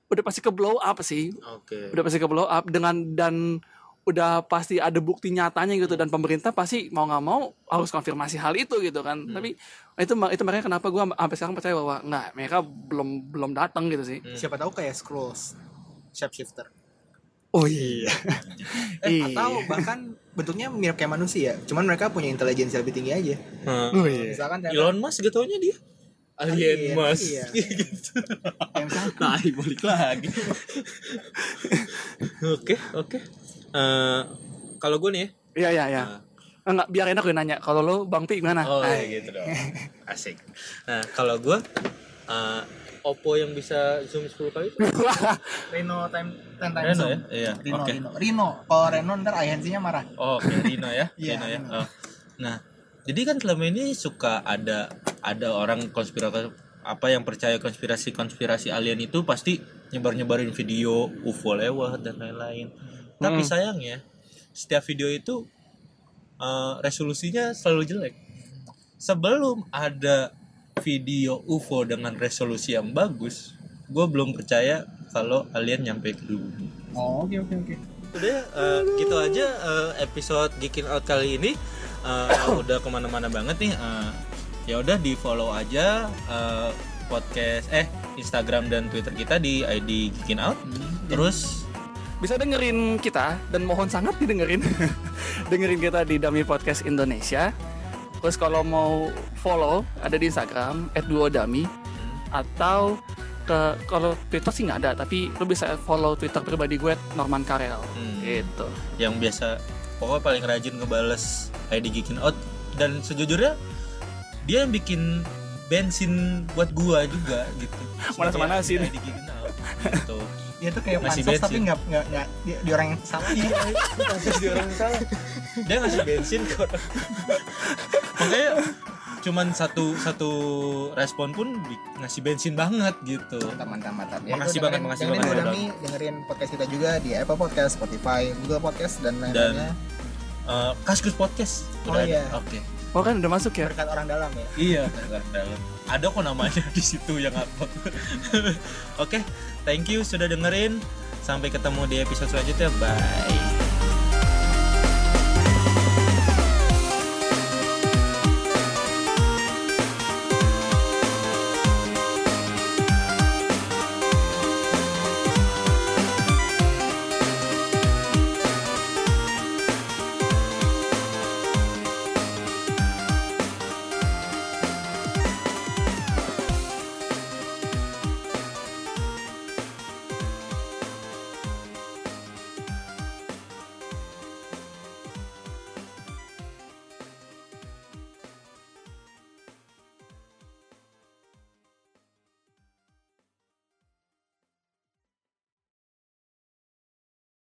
Speaker 3: udah pasti ke blow up sih
Speaker 1: oke
Speaker 3: udah pasti ke blow up dengan dan udah pasti ada bukti nyatanya gitu dan pemerintah pasti mau nggak mau harus konfirmasi hal itu gitu kan
Speaker 2: Hmm.
Speaker 3: tapi itu ma- itu makanya kenapa gua sampai sekarang percaya bahwa nggak mereka belum belum datang gitu sih
Speaker 2: siapa tahu kayak Skrulls shapeshifter.
Speaker 3: oh iya
Speaker 2: Eh, atau bahkan bentuknya mirip kayak manusia, cuman mereka punya intelijensi lebih tinggi aja.
Speaker 1: Hmm.
Speaker 3: oh iya
Speaker 2: Misalkan ternyata-
Speaker 1: Elon Musk gitu aja dia alien
Speaker 2: Alien,
Speaker 1: Musk
Speaker 2: iya.
Speaker 1: gitu
Speaker 2: kayak misalkan
Speaker 1: Nah, balik lagi. Oke, oke. Eh, kalau gue nih ya.
Speaker 3: iya iya iya
Speaker 1: Nah.
Speaker 3: enggak biar enak gue nanya kalau lo bang pi gimana
Speaker 1: Oh,
Speaker 3: Ay.
Speaker 1: iya gitu dong. Asik. Nah, kalau gue eh, Oppo yang bisa zoom 10 kali itu
Speaker 2: Oh. Reno time ten times
Speaker 1: Reno
Speaker 2: zoom.
Speaker 1: ya? Iya,
Speaker 2: Reno,
Speaker 1: oke.
Speaker 2: Reno. Reno, kalau Reno ntar agensinya marah.
Speaker 1: Oh, oke, Rino ya.
Speaker 2: Iya,
Speaker 1: Rino ya.
Speaker 2: Rino.
Speaker 1: Oh. Nah, jadi kan selama ini suka ada ada orang konspirasi apa yang percaya konspirasi-konspirasi alien itu pasti nyebar-nyebarin video UFO lewat dan lain-lain. Tapi sayangnya setiap video itu eh, resolusinya selalu jelek. Sebelum ada video UFO dengan resolusi yang bagus, gue belum percaya kalau alien nyampe ke bumi.
Speaker 2: Oh, oke oke oke.
Speaker 1: Udah eh, gitu aja eh, episode Geekin Out kali ini Eh, udah kemana-mana banget nih. Eh, ya udah di follow aja eh, podcast eh Instagram dan Twitter kita di ID Geekin Out. Terus
Speaker 3: bisa dengerin kita dan mohon sangat didengerin dengerin kita di Dami Podcast Indonesia terus kalau mau follow ada di Instagram @duodami atau ke kalau Twitter sih nggak ada tapi lu bisa follow Twitter pribadi gue Norman Karel
Speaker 1: Hmm.
Speaker 3: gitu
Speaker 1: yang biasa pokoknya paling rajin ngebales ID Geekin Out dan sejujurnya dia yang bikin bensin buat gua juga gitu. Sebagai
Speaker 3: Malas manasin.
Speaker 1: ID Geekin Out. Gitu.
Speaker 2: Dia tuh kayak
Speaker 1: Ngasih
Speaker 2: pansos
Speaker 1: bensin.
Speaker 2: tapi nggak nggak nggak dia, dia orang yang salah.
Speaker 1: dia ngasih bensin ke orang makanya cuman satu satu respon pun di- ngasih bensin banget gitu
Speaker 2: mantap mantap mantap.
Speaker 1: Makasih
Speaker 2: Ya, itu
Speaker 1: banget,
Speaker 2: dengerin-
Speaker 1: makasih
Speaker 2: dengerin
Speaker 1: banget,
Speaker 2: Godami, dengerin podcast kita juga di Apple Podcast, Spotify, Google Podcast dan lain-lainnya.
Speaker 1: Eh, Kaskus podcast
Speaker 2: Oh,
Speaker 1: Udah ada.
Speaker 2: iya.
Speaker 1: oke
Speaker 3: oh kan udah masuk ya
Speaker 2: Berkat orang dalam ya.
Speaker 1: iya ada kok namanya di situ yang upload oke thank you sudah dengerin sampai ketemu di episode selanjutnya bye